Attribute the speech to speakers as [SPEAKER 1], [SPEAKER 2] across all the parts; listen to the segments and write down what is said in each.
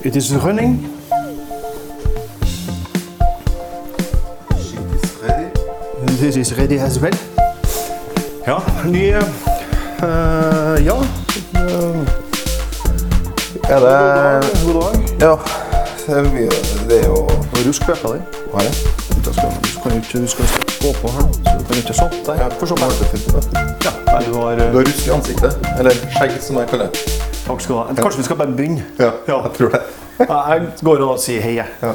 [SPEAKER 1] Het is een running. This is ready as well. Ja, nye eh, Ja.
[SPEAKER 2] Er det
[SPEAKER 1] God dag.
[SPEAKER 2] Ja. Det er mye Det er jo
[SPEAKER 1] Rusk på jakka di.
[SPEAKER 2] Hva er det?
[SPEAKER 1] Da skal Du du kan jo ikke du skal gå på her, så du kan ikke sånn. Der.
[SPEAKER 2] Ja, for så vidt. Det er fint, det.
[SPEAKER 1] Ja, nei, du har,
[SPEAKER 2] Du
[SPEAKER 1] eh,
[SPEAKER 2] har rusk i ansiktet. Eller skjegg, som jeg kaller det.
[SPEAKER 1] takk skal du ha. Kanskje vi skal bare begynne?
[SPEAKER 2] Ja,
[SPEAKER 1] Ja.
[SPEAKER 2] jeg tror det.
[SPEAKER 1] Jeg jeg går og sier hei, jeg.
[SPEAKER 2] Ja.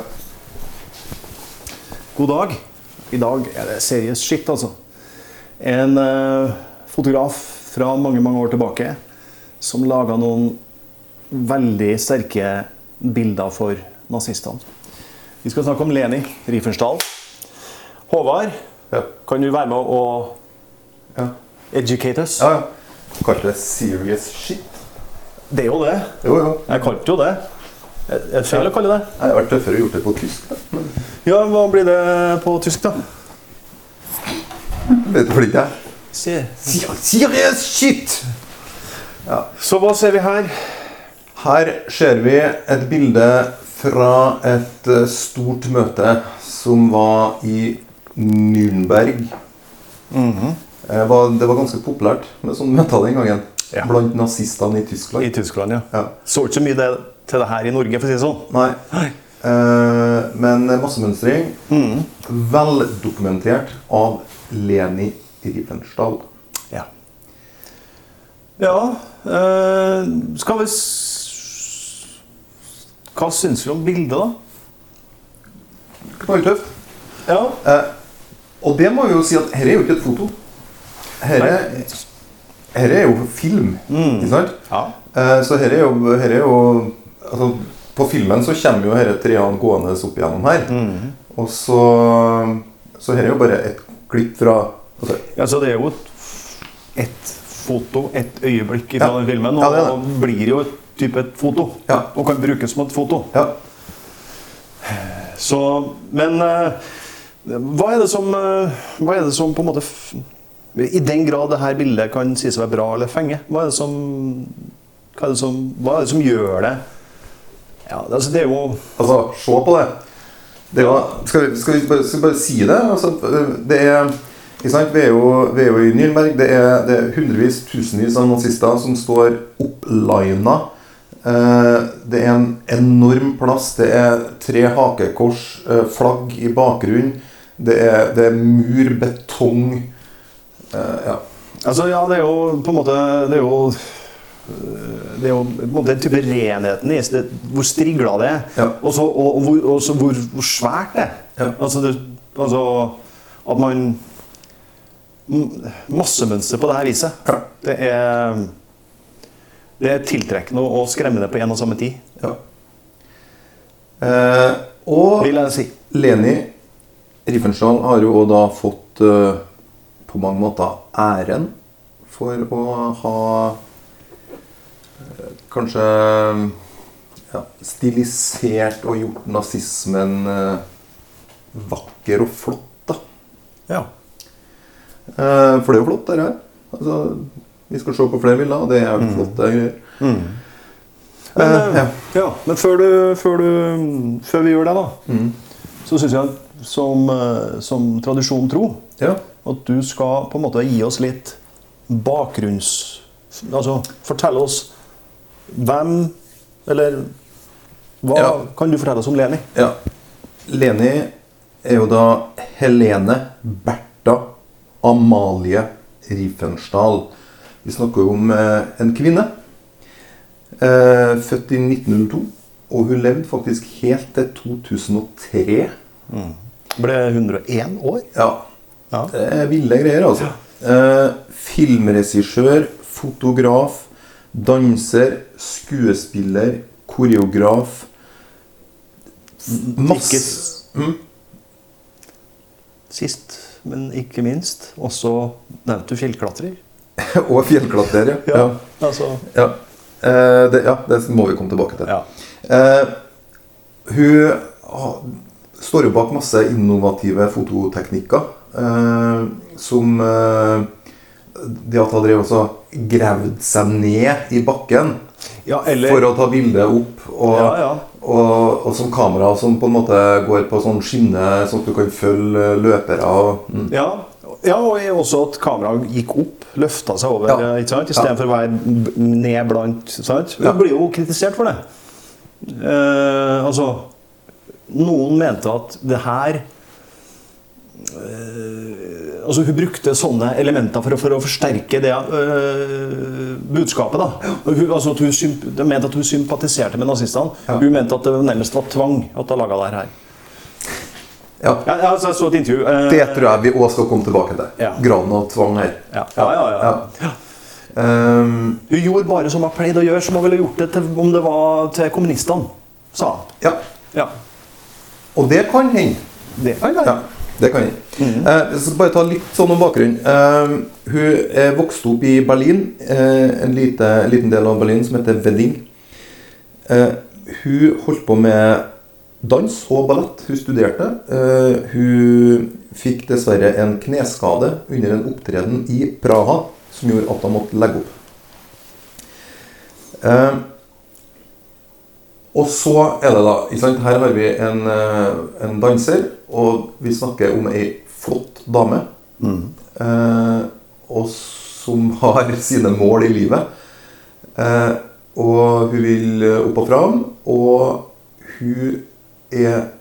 [SPEAKER 1] God dag. I dag er det seriøst shit, altså. En eh, fotograf fra mange, mange år tilbake som laga noen veldig sterke bilder for nazistene. Vi skal snakke om Leni Riefenstahl. Håvard,
[SPEAKER 2] Ja.
[SPEAKER 1] kan du være med og
[SPEAKER 2] Ja.
[SPEAKER 1] educate us?
[SPEAKER 2] ja, ja. Kalte det serious shit.
[SPEAKER 1] Det er jo det.
[SPEAKER 2] Jo, jo.
[SPEAKER 1] Jeg kalte jo det. Er er det feil å kalle det
[SPEAKER 2] Jeg har vært tøffere og gjort det på tysk. Da. Men
[SPEAKER 1] Ja, hva blir det på tysk, da?
[SPEAKER 2] det vet du fordi jeg Ser- Serious shit!
[SPEAKER 1] Så hva ser vi her?
[SPEAKER 2] Her ser vi et bilde fra et eh, stort møte som var i Nürnberg.
[SPEAKER 1] Mhm.
[SPEAKER 2] Eh, var- Det var ganske populært med sånne møter den gangen.
[SPEAKER 1] Ja.
[SPEAKER 2] Blant nazistene i Tyskland.
[SPEAKER 1] I Tyskland, ja.
[SPEAKER 2] Ja.
[SPEAKER 1] Så ikke så mye det, til det her i Norge, for å si det sånn.
[SPEAKER 2] Nei. Eh, men massemønstring
[SPEAKER 1] Mhm.
[SPEAKER 2] veldokumentert av Leni Riefenstahl.
[SPEAKER 1] Ja. Ja eh, Skal vi s Hva syns vi om bildet, da?
[SPEAKER 2] Knalltøft.
[SPEAKER 1] Ja.
[SPEAKER 2] Eh, og det må vi jo si at dette er jo ikke et foto. Dette dette er jo film.
[SPEAKER 1] Mm.
[SPEAKER 2] Ikke sant?
[SPEAKER 1] ja.
[SPEAKER 2] Eh, så dette er jo, dette er jo altså, På filmen så kommer jo disse trærne gående opp igjennom her. Og så Så dette er jo bare et klipp fra altså,
[SPEAKER 1] Altså, det er jo et- et foto, et øyeblikk fra
[SPEAKER 2] Ja.
[SPEAKER 1] den filmen, og,
[SPEAKER 2] Ja, det er det.
[SPEAKER 1] og blir jo et type et foto.
[SPEAKER 2] Ja.
[SPEAKER 1] Og kan brukes som et foto.
[SPEAKER 2] Ja.
[SPEAKER 1] Så, men eh, hva er det som eh, Hva er det som på en måte f- I den grad det her bildet kan sies å være bra eller fenge, hva er det som Hva er det som, hva er det som gjør det Ja, det- altså det er jo
[SPEAKER 2] Altså, se på det. det var, skal, vi, skal vi bare, skal vi bare si det? Altså, det er, ikke sant? Vi, er jo, vi er jo i Nürnberg. Det er, det er hundrevis, tusenvis av nazister som står opplina. Eh, det er en enorm plass. Det er tre hakekors, eh, flagg i bakgrunnen. Det er, det er mur, betong eh, Ja.
[SPEAKER 1] Altså, ja, det er jo på en måte Det er jo eh, det er jo på en måte den type renheten i det, hvor strigla det er.
[SPEAKER 2] Ja.
[SPEAKER 1] Og så og, og hvor, og så hvor, hvor svært det er.
[SPEAKER 2] Ja.
[SPEAKER 1] Altså, det, altså at man m- Massemønster på det her viset.
[SPEAKER 2] Ja.
[SPEAKER 1] Det er det er tiltrekkende og skremmende på en og samme tid,
[SPEAKER 2] ja. Eh, og
[SPEAKER 1] vil jeg si.
[SPEAKER 2] Leni Riefenstahl har jo også da fått eh, på mange måter æren for å ha eh, kanskje ja, stilisert og gjort nazismen eh, vakker og flott, da.
[SPEAKER 1] Ja.
[SPEAKER 2] Eh, For det er jo flott, dette her. Altså, vi skal se på flere bilder, og det er jo flotte greier.
[SPEAKER 1] Men,
[SPEAKER 2] Eh,
[SPEAKER 1] eh,
[SPEAKER 2] ja.
[SPEAKER 1] ja. men før, du, før, du, før vi gjør det, da, så syns jeg, som, eh, som tradisjon tro,
[SPEAKER 2] Ja.
[SPEAKER 1] at du skal på en måte gi oss litt bakgrunns... Altså, fortelle oss hvem Eller hva
[SPEAKER 2] Ja.
[SPEAKER 1] kan du fortelle oss om Leni?
[SPEAKER 2] Ja. Leni er jo da Helene Bertha Amalie Riefenstahl. Vi snakker jo om eh, en kvinne. Eh, født i 1902. Og hun levde faktisk helt til 2003.
[SPEAKER 1] Ble 101 år?
[SPEAKER 2] Ja.
[SPEAKER 1] Ja.
[SPEAKER 2] Det er ville greier, altså. Eh, filmregissør, fotograf, danser, skuespiller, koreograf
[SPEAKER 1] Ikke
[SPEAKER 2] Masse Mm.
[SPEAKER 1] s- Sist, men ikke minst, også nevnte du fjellklatrer.
[SPEAKER 2] Og fjellklatrer, ja. ja.
[SPEAKER 1] Altså,
[SPEAKER 2] ja. Eh, det, ja, det må vi komme tilbake til.
[SPEAKER 1] ja.
[SPEAKER 2] Eh, hun ha- står jo bak masse innovative fototeknikker. eh, som eh, det at hun drev også gravd seg ned i bakken
[SPEAKER 1] ja eller
[SPEAKER 2] for å ta bildet opp. Og,
[SPEAKER 1] Ja, ja.
[SPEAKER 2] Og, og som kamera som på en måte går på sånn skinne, sånn at du kan følge eh, løpere. Og, mm.
[SPEAKER 1] Ja. ja, og er også at kameraet gikk opp, løfta seg over, eh,
[SPEAKER 2] Ja.
[SPEAKER 1] ikke sant? i stedet
[SPEAKER 2] Ja.
[SPEAKER 1] for å være b- ned blant. Sant? Vi
[SPEAKER 2] Ja.
[SPEAKER 1] blir jo kritisert for det. Eh, altså Noen mente at det her eh, Altså Hun brukte sånne elementer for å, for å forsterke det eh, budskapet. da. Og Hun, altså at hun symp de mente at hun sympatiserte med nazistene.
[SPEAKER 2] Ja.
[SPEAKER 1] Hun mente at det nærmest var tvang at hun laga det her.
[SPEAKER 2] ja.
[SPEAKER 1] Ja, ja, altså, jeg så et intervju. eh,
[SPEAKER 2] Det tror jeg vi òg skal komme tilbake til.
[SPEAKER 1] Ja.
[SPEAKER 2] Graden av tvang her.
[SPEAKER 1] Ja. Ja, ja, ja.
[SPEAKER 2] Ehm,
[SPEAKER 1] Hun gjorde bare som hun pleide å gjøre, som hun ville gjort det til, om det var til kommunistene, sa hun.
[SPEAKER 2] ja.
[SPEAKER 1] Ja.
[SPEAKER 2] Og det kan hende.
[SPEAKER 1] Det kan
[SPEAKER 2] Ja, det kan jeg. Eh, jeg skal bare ta litt sånn om bakgrunnen. Eh, hun eh, vokste opp i Berlin, eh, en, lite, en liten del av Berlin som heter Wedding. Eh, hun holdt på med dans og ballett. Hun studerte. Eh, hun fikk dessverre en kneskade under en opptreden i Praha som gjorde at hun måtte legge opp. Eh, og så er det da ikke sant? Her har vi en, eh, en danser, og vi snakker om ei flott dame.
[SPEAKER 1] Mm,
[SPEAKER 2] Eh, og som har sine mål i livet. Eh, og hun vil eh, opp og fram, og hun er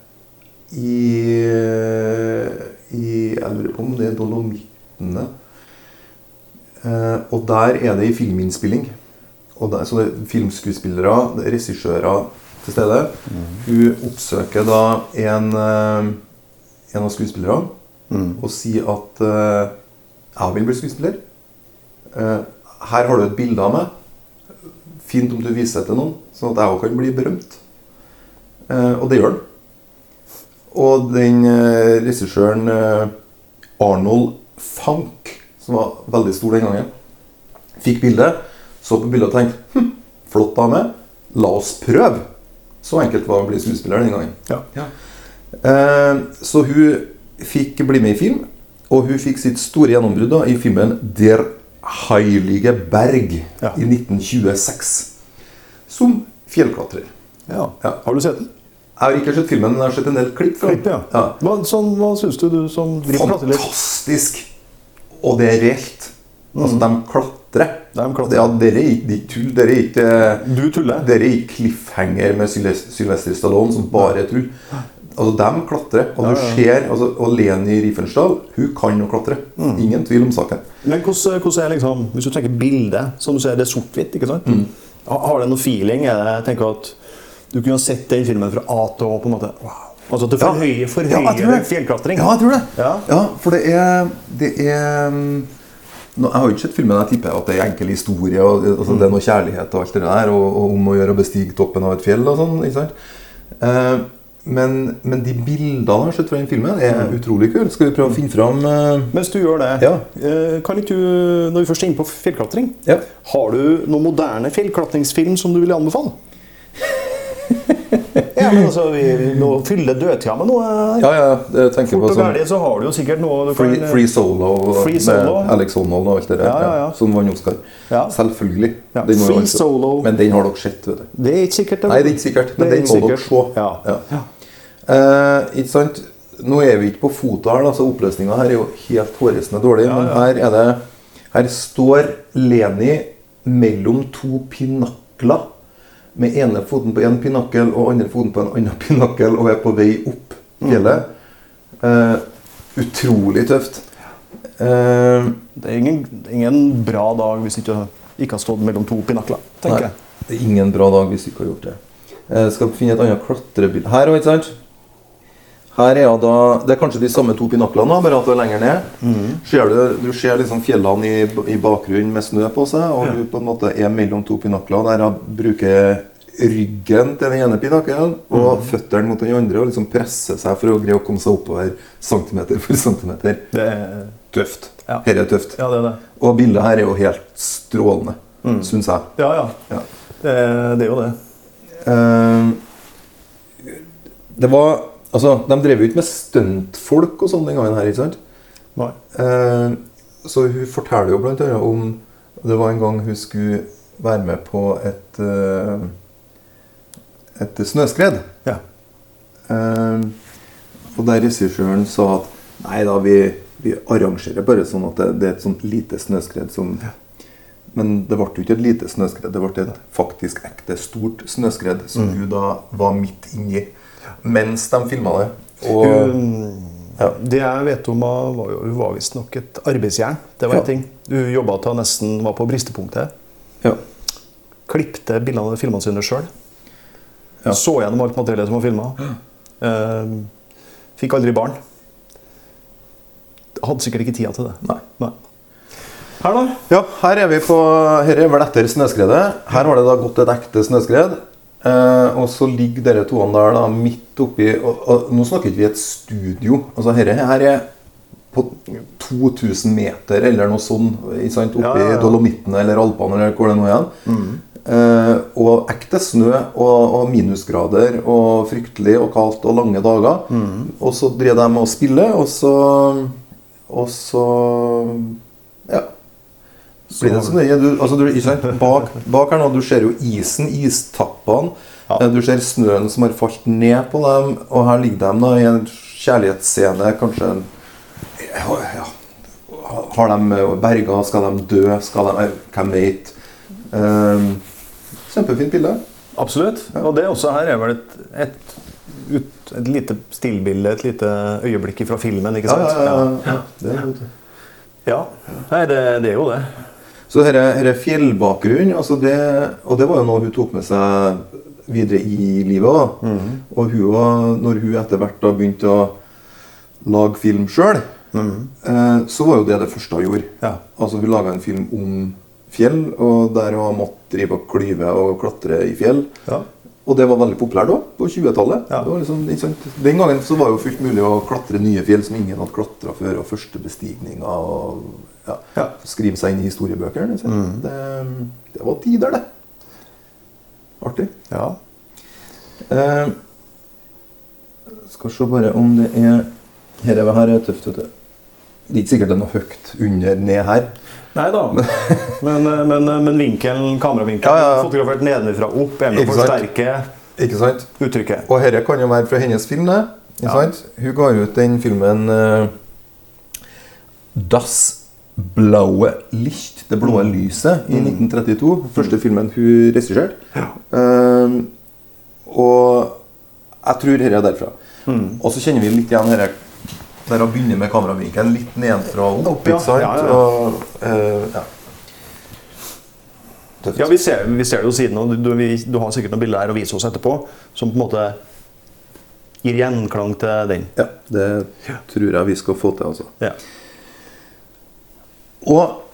[SPEAKER 2] i, i Jeg lurer på om det er Dolomittene. Eh, og der er det i filminnspilling. Og der, så det er filmskuespillere, det er regissører til stede. Hun oppsøker da en, eh, en av skuespillerne
[SPEAKER 1] mm.
[SPEAKER 2] Ehm, og sier at eh, 'Jeg vil bli skuespiller. Eh, her har du et bilde av meg. Fint om du viser det til noen, sånn at jeg òg kan bli berømt.' Eh, og det gjør han. Og den eh, regissøren eh, Arnold Fank, som var veldig stor den gangen, fikk bildet, så på bildet og tenkte hm, flott dame, la oss prøve. Så enkelt var det å bli skuespiller den gangen.
[SPEAKER 1] Ja.
[SPEAKER 2] Eh, så hun fikk bli med i film, og hun fikk sitt store gjennombrudd da, i filmen Der heilige berg
[SPEAKER 1] Ja.
[SPEAKER 2] i 1926. Som fjellklatrer. Ja.
[SPEAKER 1] Har du sett den?
[SPEAKER 2] Jeg har ikke sett filmen, men jeg har sett en del klipp fra den.
[SPEAKER 1] Klippet, ja.
[SPEAKER 2] Ja.
[SPEAKER 1] Hva, sånn, hva syns du, du som driver og prater litt?
[SPEAKER 2] Fantastisk! Og det er reelt. Altså, de klatrer.
[SPEAKER 1] Mm. De klatrer.
[SPEAKER 2] Ja, dere er ikke de tull. Dere er ikke eh,
[SPEAKER 1] Du tuller.
[SPEAKER 2] Dere er ikke cliffhanger med Sylvest- Sylvester Stallone som bare er tull. Altså, de klatrer. Og du ser altså, Og Leni Riefenstahl, hun kan å klatre. Ingen tvil om saken.
[SPEAKER 1] Men hvordan, hvordan er liksom, hvis du tenker bildet, som du ser, det er sort-hvitt, ikke sant? Ha- Har det noe feeling? Er det, jeg tenker at du kunne ha sett den filmen fra A til Å, på en måte. Wow. Altså at det forhøyer,
[SPEAKER 2] Ja, jeg tror
[SPEAKER 1] forhøyer
[SPEAKER 2] det.
[SPEAKER 1] fjellklatring.
[SPEAKER 2] Ja, jeg tror det.
[SPEAKER 1] Ja.
[SPEAKER 2] for det er, det er nå, Jeg har jo ikke sett filmen. Jeg tipper at det er enkel historie. Og, altså, Det er noe kjærlighet og alt det der, og, og om å gjøre å bestige toppen av et fjell og sånn. ikke sant? Eh, men, men de bildene jeg har sett fra den filmen, er utrolig kule. Skal vi prøve å finne fram eh,
[SPEAKER 1] Mens du gjør det,
[SPEAKER 2] Ja.
[SPEAKER 1] eh, kan ikke du, når vi først er inne på fjellklatring
[SPEAKER 2] Ja.
[SPEAKER 1] Har du noen moderne fjellklatringsfilm som du vil anbefale? ja, men altså, vi nå fyller dødtida med noe. her.
[SPEAKER 2] Ja, ja, jeg tenker
[SPEAKER 1] Fort
[SPEAKER 2] på
[SPEAKER 1] og
[SPEAKER 2] sånn
[SPEAKER 1] gærlig så har du jo sikkert noe du kan
[SPEAKER 2] Free, free Solo og-
[SPEAKER 1] Free Solo.
[SPEAKER 2] med Alex Honnold og alt det der.
[SPEAKER 1] Ja, ja, ja.
[SPEAKER 2] Som vant Oscar.
[SPEAKER 1] Ja.
[SPEAKER 2] Selvfølgelig.
[SPEAKER 1] Ja,
[SPEAKER 2] Den må jo
[SPEAKER 1] Free
[SPEAKER 2] altså-
[SPEAKER 1] Solo.
[SPEAKER 2] Men den har dere sett, vet du.
[SPEAKER 1] eh, Det er ikke sikkert.
[SPEAKER 2] Nei, det er ikke sikkert,
[SPEAKER 1] Det
[SPEAKER 2] men
[SPEAKER 1] er
[SPEAKER 2] den
[SPEAKER 1] ikke
[SPEAKER 2] må dere se.
[SPEAKER 1] sikkert. Ja.
[SPEAKER 2] Ja. Eh, ikke sant? Nå er vi ikke på fota her, da, så oppløsninga her er jo helt hårreisende dårlig. Men her er det Her står Leni mellom to pinakler. Med ene foten på én pinakkel og andre foten på en annen pinakkel og er på vei opp fjellet.
[SPEAKER 1] Mm.
[SPEAKER 2] Eh, utrolig tøft. Eh,
[SPEAKER 1] Det er ingen, ingen bra dag hvis du ikke, ikke har stått mellom to pinakler, tenker
[SPEAKER 2] Nei,
[SPEAKER 1] jeg.
[SPEAKER 2] det er ingen bra dag hvis du ikke har gjort det. Jeg skal finne et annet klatrebilde Her òg, ikke sant? Her er jeg da, Det er kanskje de samme to pinaklene, da, bare at du er lenger ned.
[SPEAKER 1] Mm.
[SPEAKER 2] Ser du, du ser liksom fjellene i, i bakgrunnen med snø på seg, og du på en måte er mellom to pinakler. Der jeg bruker ryggen til den ene pinakkelen og
[SPEAKER 1] Mm.
[SPEAKER 2] føttene mot den andre og liksom presser seg for å greie å komme seg oppover centimeter for centimeter.
[SPEAKER 1] Det er,
[SPEAKER 2] Tøft.
[SPEAKER 1] Ja.
[SPEAKER 2] Her er tøft.
[SPEAKER 1] ja, det er det.
[SPEAKER 2] Og bildet her er jo helt strålende,
[SPEAKER 1] Mm.
[SPEAKER 2] syns jeg.
[SPEAKER 1] Ja, ja.
[SPEAKER 2] Ja.
[SPEAKER 1] Det, er- det er jo det.
[SPEAKER 2] Eh, det var Altså, de drev jo ikke med stuntfolk og sånn den gangen her, ikke sant?
[SPEAKER 1] Nei.
[SPEAKER 2] Eh, så hun forteller jo blant annet om Det var en gang hun skulle være med på et eh, ehm, et snøskred.
[SPEAKER 1] Ja.
[SPEAKER 2] Eh, og der regissøren sa at nei da, vi, vi arrangerer bare sånn at det, det er et sånt lite snøskred som Men det ble jo ikke et lite snøskred, det ble et faktisk ekte stort snøskred som hun da var midt inni mens de filma det. Og,
[SPEAKER 1] Hun,
[SPEAKER 2] Ja.
[SPEAKER 1] Det jeg vet om henne, var jo hun var visstnok et arbeidsjern. Det var
[SPEAKER 2] Ja.
[SPEAKER 1] en ting. Hun jobba til hun nesten var på bristepunktet.
[SPEAKER 2] ja.
[SPEAKER 1] Klipte bildene og filmene sine sjøl.
[SPEAKER 2] Ja.
[SPEAKER 1] Så gjennom alt materiellet som var filma. fikk aldri barn. Hadde sikkert ikke tida til det.
[SPEAKER 2] Nei.
[SPEAKER 1] Nei. Her, da?
[SPEAKER 2] Ja, her er vi på Her er vel etter snøskredet. Her har det da gått et ekte snøskred. Eh, og så ligger dere toene der da midt oppi og, og Nå snakker ikke vi et studio. Altså herre her er på 2000 meter eller noe sånt ikke sant, oppi
[SPEAKER 1] Ja, ja, Mm. ja.
[SPEAKER 2] Dolomittene eller Alpene eller hvor det nå er. Eh, og ekte snø og, og minusgrader og fryktelig og kaldt og lange dager.
[SPEAKER 1] Mm.
[SPEAKER 2] Og så driver de og spiller, og så Og så Ja. Blir det så nøye? Du, altså, du, ikke sant? Bak, bak her nå, du ser jo isen, istappene.
[SPEAKER 1] Ja.
[SPEAKER 2] Eh, Du ser snøen som har falt ned på dem, og her ligger de da i en kjærlighetsscene, kanskje en ja, ja. Har de berga? Skal de dø? Skal de eh, Hvem vet? Um, kjempefint bilde.
[SPEAKER 1] Absolutt. Og det også her er vel et, et, ut, et lite stillbilde, et lite øyeblikk fra filmen, ikke sant?
[SPEAKER 2] Det er godt.
[SPEAKER 1] Ja. Nei, det, det er jo det.
[SPEAKER 2] Så dette dette er fjellbakgrunn, altså det, og det var jo noe hun tok med seg videre i livet. Da. Og hun, var- når hun etter hvert da begynte å lage film sjøl, eh, så var jo det det første hun gjorde.
[SPEAKER 1] Ja.
[SPEAKER 2] Altså Hun laga en film om fjell, og der hun måtte drive og klyve og klatre i fjell.
[SPEAKER 1] Ja.
[SPEAKER 2] Og det var veldig populært da, på 20-tallet.
[SPEAKER 1] Ja.
[SPEAKER 2] Det var Liksom, ikke sant? Den gangen så var det jo fullt mulig å klatre nye fjell som ingen hadde klatra før, og første bestigninger og ja,
[SPEAKER 1] Ja. Mm.
[SPEAKER 2] skrive seg inn i historiebøkene. ikke sant? Det, det var tider, det. Artig.
[SPEAKER 1] ja.
[SPEAKER 2] Eh, skal se bare om det er Her er her er tøft, vet du. Det er ikke sikkert det er noe høyt under ned her.
[SPEAKER 1] Nei da. Men, men, men vinkelen, kameravinkelen,
[SPEAKER 2] Ja, ja, ja.
[SPEAKER 1] fotografert nedenfra og opp, er med å
[SPEAKER 2] Ikke sant?
[SPEAKER 1] forsterke
[SPEAKER 2] Ikke sant?
[SPEAKER 1] uttrykket.
[SPEAKER 2] Og dette kan jo være fra hennes film. det. Ikke
[SPEAKER 1] Ja.
[SPEAKER 2] sant? Hun ga ut den filmen eh, Das blaue Licht, det blå
[SPEAKER 1] Mm.
[SPEAKER 2] lyset, i 1932. Første filmen hun regisserte. Eh, og jeg tror dette er derfra.
[SPEAKER 1] Mm.
[SPEAKER 2] Og så kjenner vi litt igjen dette der hun begynner med kameravinkelen litt nedenfra og opp.
[SPEAKER 1] Ja,
[SPEAKER 2] ikke sant?
[SPEAKER 1] ja, ja.
[SPEAKER 2] Og, eh, ja. Tøft.
[SPEAKER 1] Ja, vi ser, vi ser det jo siden, og du, vi, du har sikkert noen bilder her å vise oss etterpå, som på en måte gir gjenklang til den.
[SPEAKER 2] ja, det tror jeg vi skal få til, altså.
[SPEAKER 1] Ja.
[SPEAKER 2] Og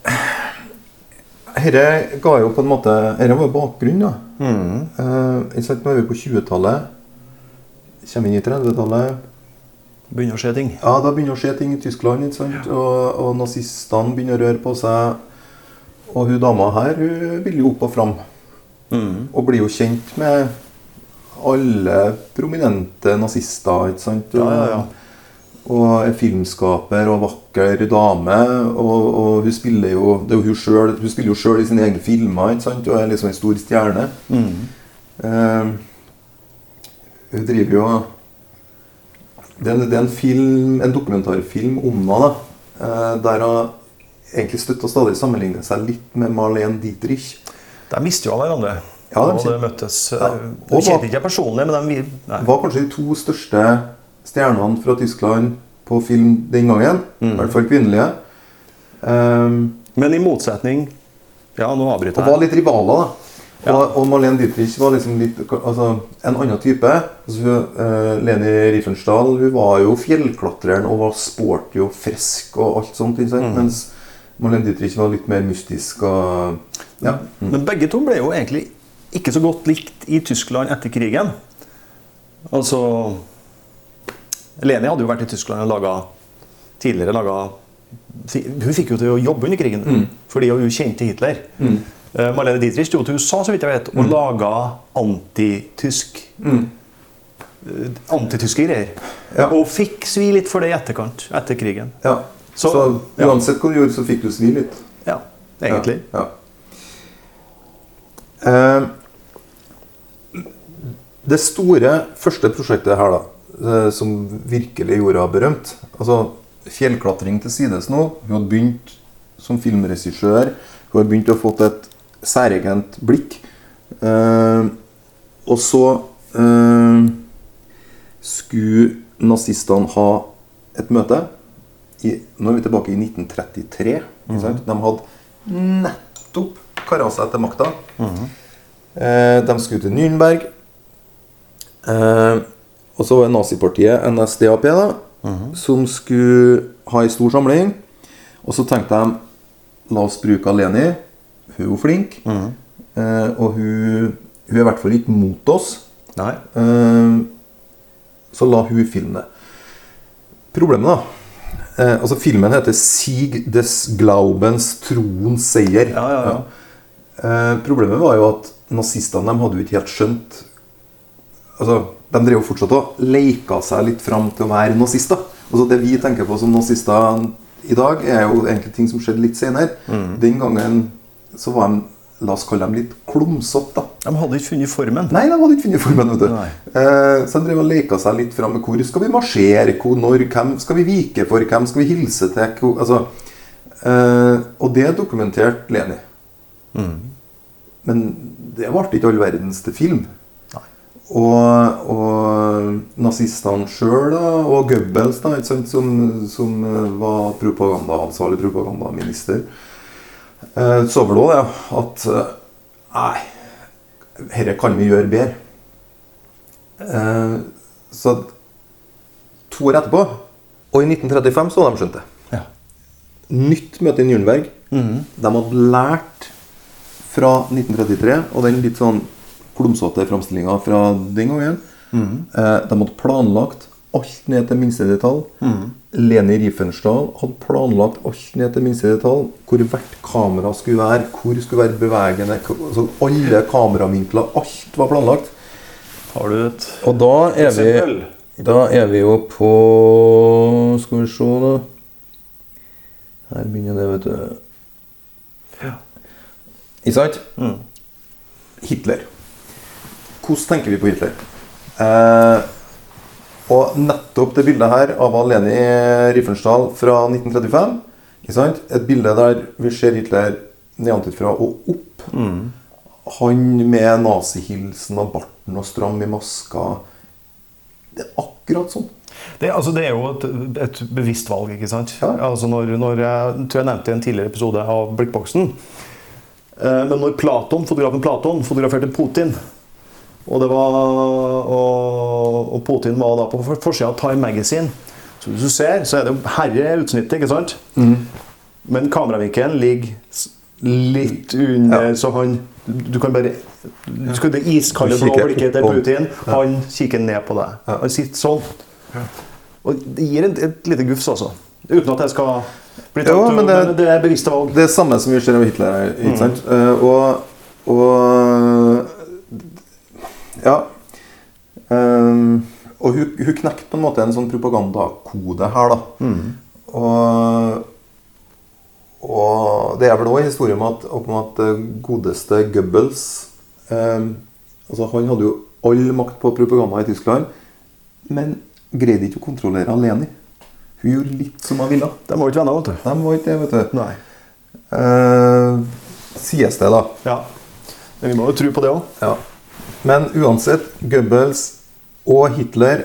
[SPEAKER 2] dette ga jo på en måte Dette var jo bakgrunnen, da. Eh, ikke sant, nå er vi på 20-tallet. Kommer inn i 30-tallet.
[SPEAKER 1] Begynner å skje ting.
[SPEAKER 2] Ja, da begynner å skje ting i Tyskland, ikke sant? Og, og nazistene begynner å røre på seg. Og hun dama her hun vil jo opp og fram.
[SPEAKER 1] Mm.
[SPEAKER 2] Og blir jo kjent med alle prominente nazister, ikke sant?
[SPEAKER 1] Ja, ja, ja.
[SPEAKER 2] Og er filmskaper og vakker dame. Og, og hun spiller jo det er jo hun, selv, hun spiller jo sjøl i sine egne filmer ikke sant? og er liksom en stor stjerne.
[SPEAKER 1] Mm.
[SPEAKER 2] Eh, hun driver jo det er, det er en film, en dokumentarfilm om henne, da, eh, der hun egentlig støtter stadig sammenligne seg litt med Marlene Dietrich.
[SPEAKER 1] De visste jo av hverandre.
[SPEAKER 2] Ja, de
[SPEAKER 1] og det
[SPEAKER 2] kjente-
[SPEAKER 1] møttes eh,
[SPEAKER 2] Ja.
[SPEAKER 1] De
[SPEAKER 2] Og
[SPEAKER 1] kjente
[SPEAKER 2] hva-
[SPEAKER 1] ikke jeg personlig, men de vi- nei.
[SPEAKER 2] Var kanskje de to største stjernene fra Tyskland på film den gangen. I hvert fall kvinnelige. Ehm,
[SPEAKER 1] Men i motsetning Ja, nå avbryter
[SPEAKER 2] og var
[SPEAKER 1] jeg.
[SPEAKER 2] litt rivaler, da.
[SPEAKER 1] Ja.
[SPEAKER 2] Og, og Marlene Dietrich var liksom litt altså, en annen type. Altså, hun, eh, Leni Riefenstahl hun var jo fjellklatreren og var sporty og frisk og alt sånt. ikke
[SPEAKER 1] Mm.
[SPEAKER 2] sant? Mens Marlene Dietrich var litt mer mystisk og ja.
[SPEAKER 1] Men begge to ble jo egentlig ikke så godt likt i Tyskland etter krigen. Altså Leni hadde jo vært i Tyskland og laga tidligere laga fi- Hun fikk jo til å jobbe under krigen fordi hun kjente Hitler. Eh, Marlene Dietrich dro til USA så vidt jeg vet, og laga antitysk eh, Antityske greier.
[SPEAKER 2] Ja.
[SPEAKER 1] Og fikk svi litt for det i etterkant. Etter krigen.
[SPEAKER 2] ja. Så,
[SPEAKER 1] Så- ja.
[SPEAKER 2] uansett hva du gjorde, så fikk du svi litt.
[SPEAKER 1] Ja, egentlig.
[SPEAKER 2] Ja. ja. Eh, Det store første prosjektet her, da, eh, som virkelig gjorde henne berømt altså, Fjellklatring til sides nå. Hun hadde begynt som filmregissør. Hun har begynt å få et særegent blikk. Eh, og så eh, skulle nazistene ha et møte. I, nå er vi tilbake i 1933. ikke sant? De hadde nettopp kara seg til makta. Eh, de skulle til Nürnberg. Eh, og så var det nazipartiet NSDAP da, som skulle ha ei stor samling. Og så tenkte de la oss bruke Leni. Hun er jo flink. Eh, og hun, hun er i hvert fall ikke mot oss.
[SPEAKER 1] Nei.
[SPEAKER 2] Eh, så la hun filme det. Problemet, da eh, Altså, filmen heter 'Sieg des Glaubens troens seier'.
[SPEAKER 1] Ja, ja, ja.
[SPEAKER 2] Eh, problemet var jo at nazistene de hadde jo ikke helt skjønt altså, De drev jo fortsatt og leika seg litt fram til å være nazister. Altså, det vi tenker på som nazister i dag, er jo egentlig ting som skjedde litt senere.
[SPEAKER 1] Mm.
[SPEAKER 2] Den gangen så var de La oss kalle dem litt klumsete, da.
[SPEAKER 1] De hadde ikke funnet formen.
[SPEAKER 2] Nei, de hadde ikke funnet formen. vet
[SPEAKER 1] Nei.
[SPEAKER 2] du. Eh, så de drev og leka seg litt fram med hvor skal vi marsjere, hvor, når, hvem skal vi vike for, hvem skal vi hilse til hvor, altså, eh, Og det dokumenterte Leni.
[SPEAKER 1] Mm.
[SPEAKER 2] Men det ble ikke all verdens til film.
[SPEAKER 1] Nei.
[SPEAKER 2] Og, og nazistene sjøl, og Goebbels, da, ikke sant, som, som eh, var propaganda, ansvarlig propagandaminister, eh, så vel òg det at eh, Nei, dette kan vi gjøre bedre. Eh, så to år etterpå, og i 1935, så hadde de skjønt det.
[SPEAKER 1] Ja.
[SPEAKER 2] Nytt møte i Nürnberg. De hadde lært fra 1933 og den litt sånn klumsete framstillinga fra den gangen. Eh, de hadde planlagt alt ned til minste detalj. Leni Riefenstahl hadde planlagt alt ned til minste detalj. Hvor hvert kamera skulle være, hvor skulle være bevegende hvor- altså Alle kameravinkler, alt var planlagt.
[SPEAKER 1] Har du et
[SPEAKER 2] Og da er vi,
[SPEAKER 1] Eksempel.
[SPEAKER 2] da er vi jo på Skal vi se, da. Her begynner det, vet du. Ikke sant? Hitler. Hvordan tenker vi på Hitler? Eh, og nettopp det bildet her av Leni Riefenstahl fra 1935 ikke sant? Et bilde der vi ser Hitler nedenfra og opp. Han med nazihilsen og barten og stram i maska. Det er akkurat sånn.
[SPEAKER 1] Det, altså, det er jo et, et bevisst valg, ikke sant?
[SPEAKER 2] Ja.
[SPEAKER 1] Altså, når, når jeg tror jeg nevnte i en tidligere episode av Blikkboksen eh, Men når Platon, fotografen Platon fotograferte Putin Og, det var, og, og Putin var da på for- forsida av Time Magazine Så hvis du ser, så er det jo herre utsnittet, ikke sant?
[SPEAKER 2] Mhm.
[SPEAKER 1] Men kameravinkelen ligger s- litt under, så han Du kan bare Du skal det iskalde blå
[SPEAKER 2] kikker
[SPEAKER 1] blikket til
[SPEAKER 2] oppom.
[SPEAKER 1] Putin. Han kikker ned på deg. Han sitter sånn. Og det gir et, et lite gufs, altså. Uten at jeg skal bli tatt
[SPEAKER 2] Jo, men
[SPEAKER 1] men det,
[SPEAKER 2] det-
[SPEAKER 1] men det er bevisste valg.
[SPEAKER 2] Det er samme som vi ser med Hitler. her, Ikke sant? Eh, og, og Ja. Ehm, og hun, hun knekte på en måte en sånn propagandakode her, da. Og, og det er vel òg en historie om at, om at eh, godeste Goebbels ehm, altså Han hadde jo all makt på propaganda i Tyskland, men greide ikke å kontrollere Leni. Hun gjorde litt som hun ville.
[SPEAKER 1] De var jo ikke venner, vet du.
[SPEAKER 2] De var ikke det, vet du.
[SPEAKER 1] Nei.
[SPEAKER 2] Eh, sies det, da.
[SPEAKER 1] Ja. Men vi må jo tro på det òg.
[SPEAKER 2] Ja. Men uansett, Goebbels og Hitler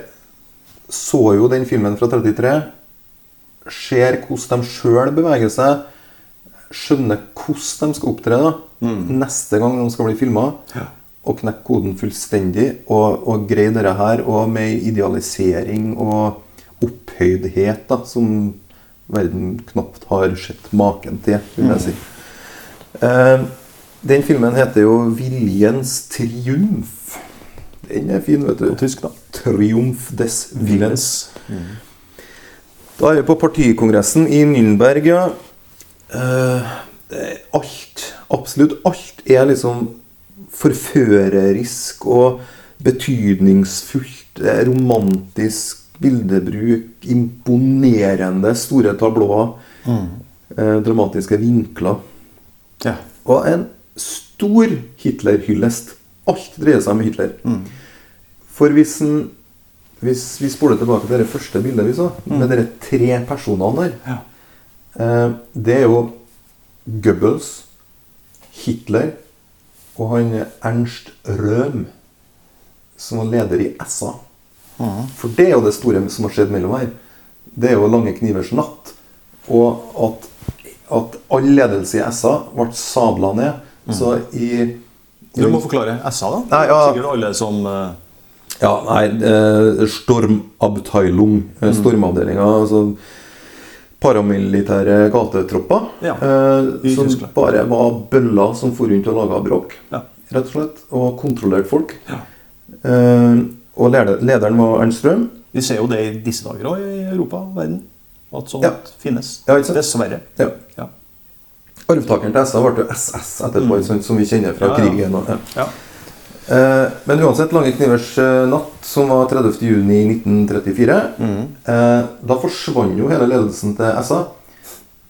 [SPEAKER 2] så jo den filmen fra 33, ser hvordan de sjøl beveger seg, skjønner hvordan de skal opptre da, neste gang de skal bli filma, og knekke koden fullstendig og, og greie dette her, og med ei idealisering og opphøydhet da, som verden knapt har sett maken til, vil jeg si. Eh, den filmen heter jo 'Viljens triumf'. Den er fin, vet du.
[SPEAKER 1] På tysk, da.
[SPEAKER 2] 'Triumf des Willens'. Da er vi på partikongressen i Nürnberg, ja. Eh, det er alt, absolutt alt, er liksom forførerisk og betydningsfullt. Det er romantisk bildebruk, imponerende store tablåer, eh, dramatiske vinkler.
[SPEAKER 1] Ja.
[SPEAKER 2] Og en stor Hitler-hyllest. Alt dreier seg om Hitler. For hvis, en, hvis vi spoler tilbake til det første bildet vi så, med de tre personene der
[SPEAKER 1] Ja.
[SPEAKER 2] eh, Det er jo Goebbels, Hitler og han Ernst Røhm, som var leder i SA. For det er jo det store som har skjedd mellom her. Det er jo Lange knivers natt. Og at, at all ledelse i SA ble sabla ned.
[SPEAKER 1] Mm.
[SPEAKER 2] Så i
[SPEAKER 1] Du må forklare SA, da.
[SPEAKER 2] Nei, ja.
[SPEAKER 1] Sikkert alle som eh,
[SPEAKER 2] Ja, nei, eh, Stormabteilung,
[SPEAKER 1] Mm.
[SPEAKER 2] eh, stormavdelinga, altså paramilitære gatetropper.
[SPEAKER 1] Ja,
[SPEAKER 2] eh,
[SPEAKER 1] i
[SPEAKER 2] som
[SPEAKER 1] Tyskland.
[SPEAKER 2] bare var bøller som for rundt og laga bråk,
[SPEAKER 1] Ja.
[SPEAKER 2] rett og slett. Og kontrollerte folk.
[SPEAKER 1] Ja.
[SPEAKER 2] Eh, og leder, lederen var Ernst Strøm.
[SPEAKER 1] Vi ser jo det i disse dager òg, i Europa og verden. At sånt
[SPEAKER 2] Ja.
[SPEAKER 1] finnes.
[SPEAKER 2] Ja, ikke sant?
[SPEAKER 1] Dessverre.
[SPEAKER 2] Ja.
[SPEAKER 1] Ja.
[SPEAKER 2] Arvtakeren til SA ble jo SS etterpå, ikke sant, som vi kjenner fra
[SPEAKER 1] Mm. Ja, ja.
[SPEAKER 2] krigen. Og, ja.
[SPEAKER 1] Ja.
[SPEAKER 2] Eh, Men uansett, Lange knivers eh, natt, som var 30. juni 1934
[SPEAKER 1] Mm.
[SPEAKER 2] eh, Da forsvant jo hele ledelsen til SA.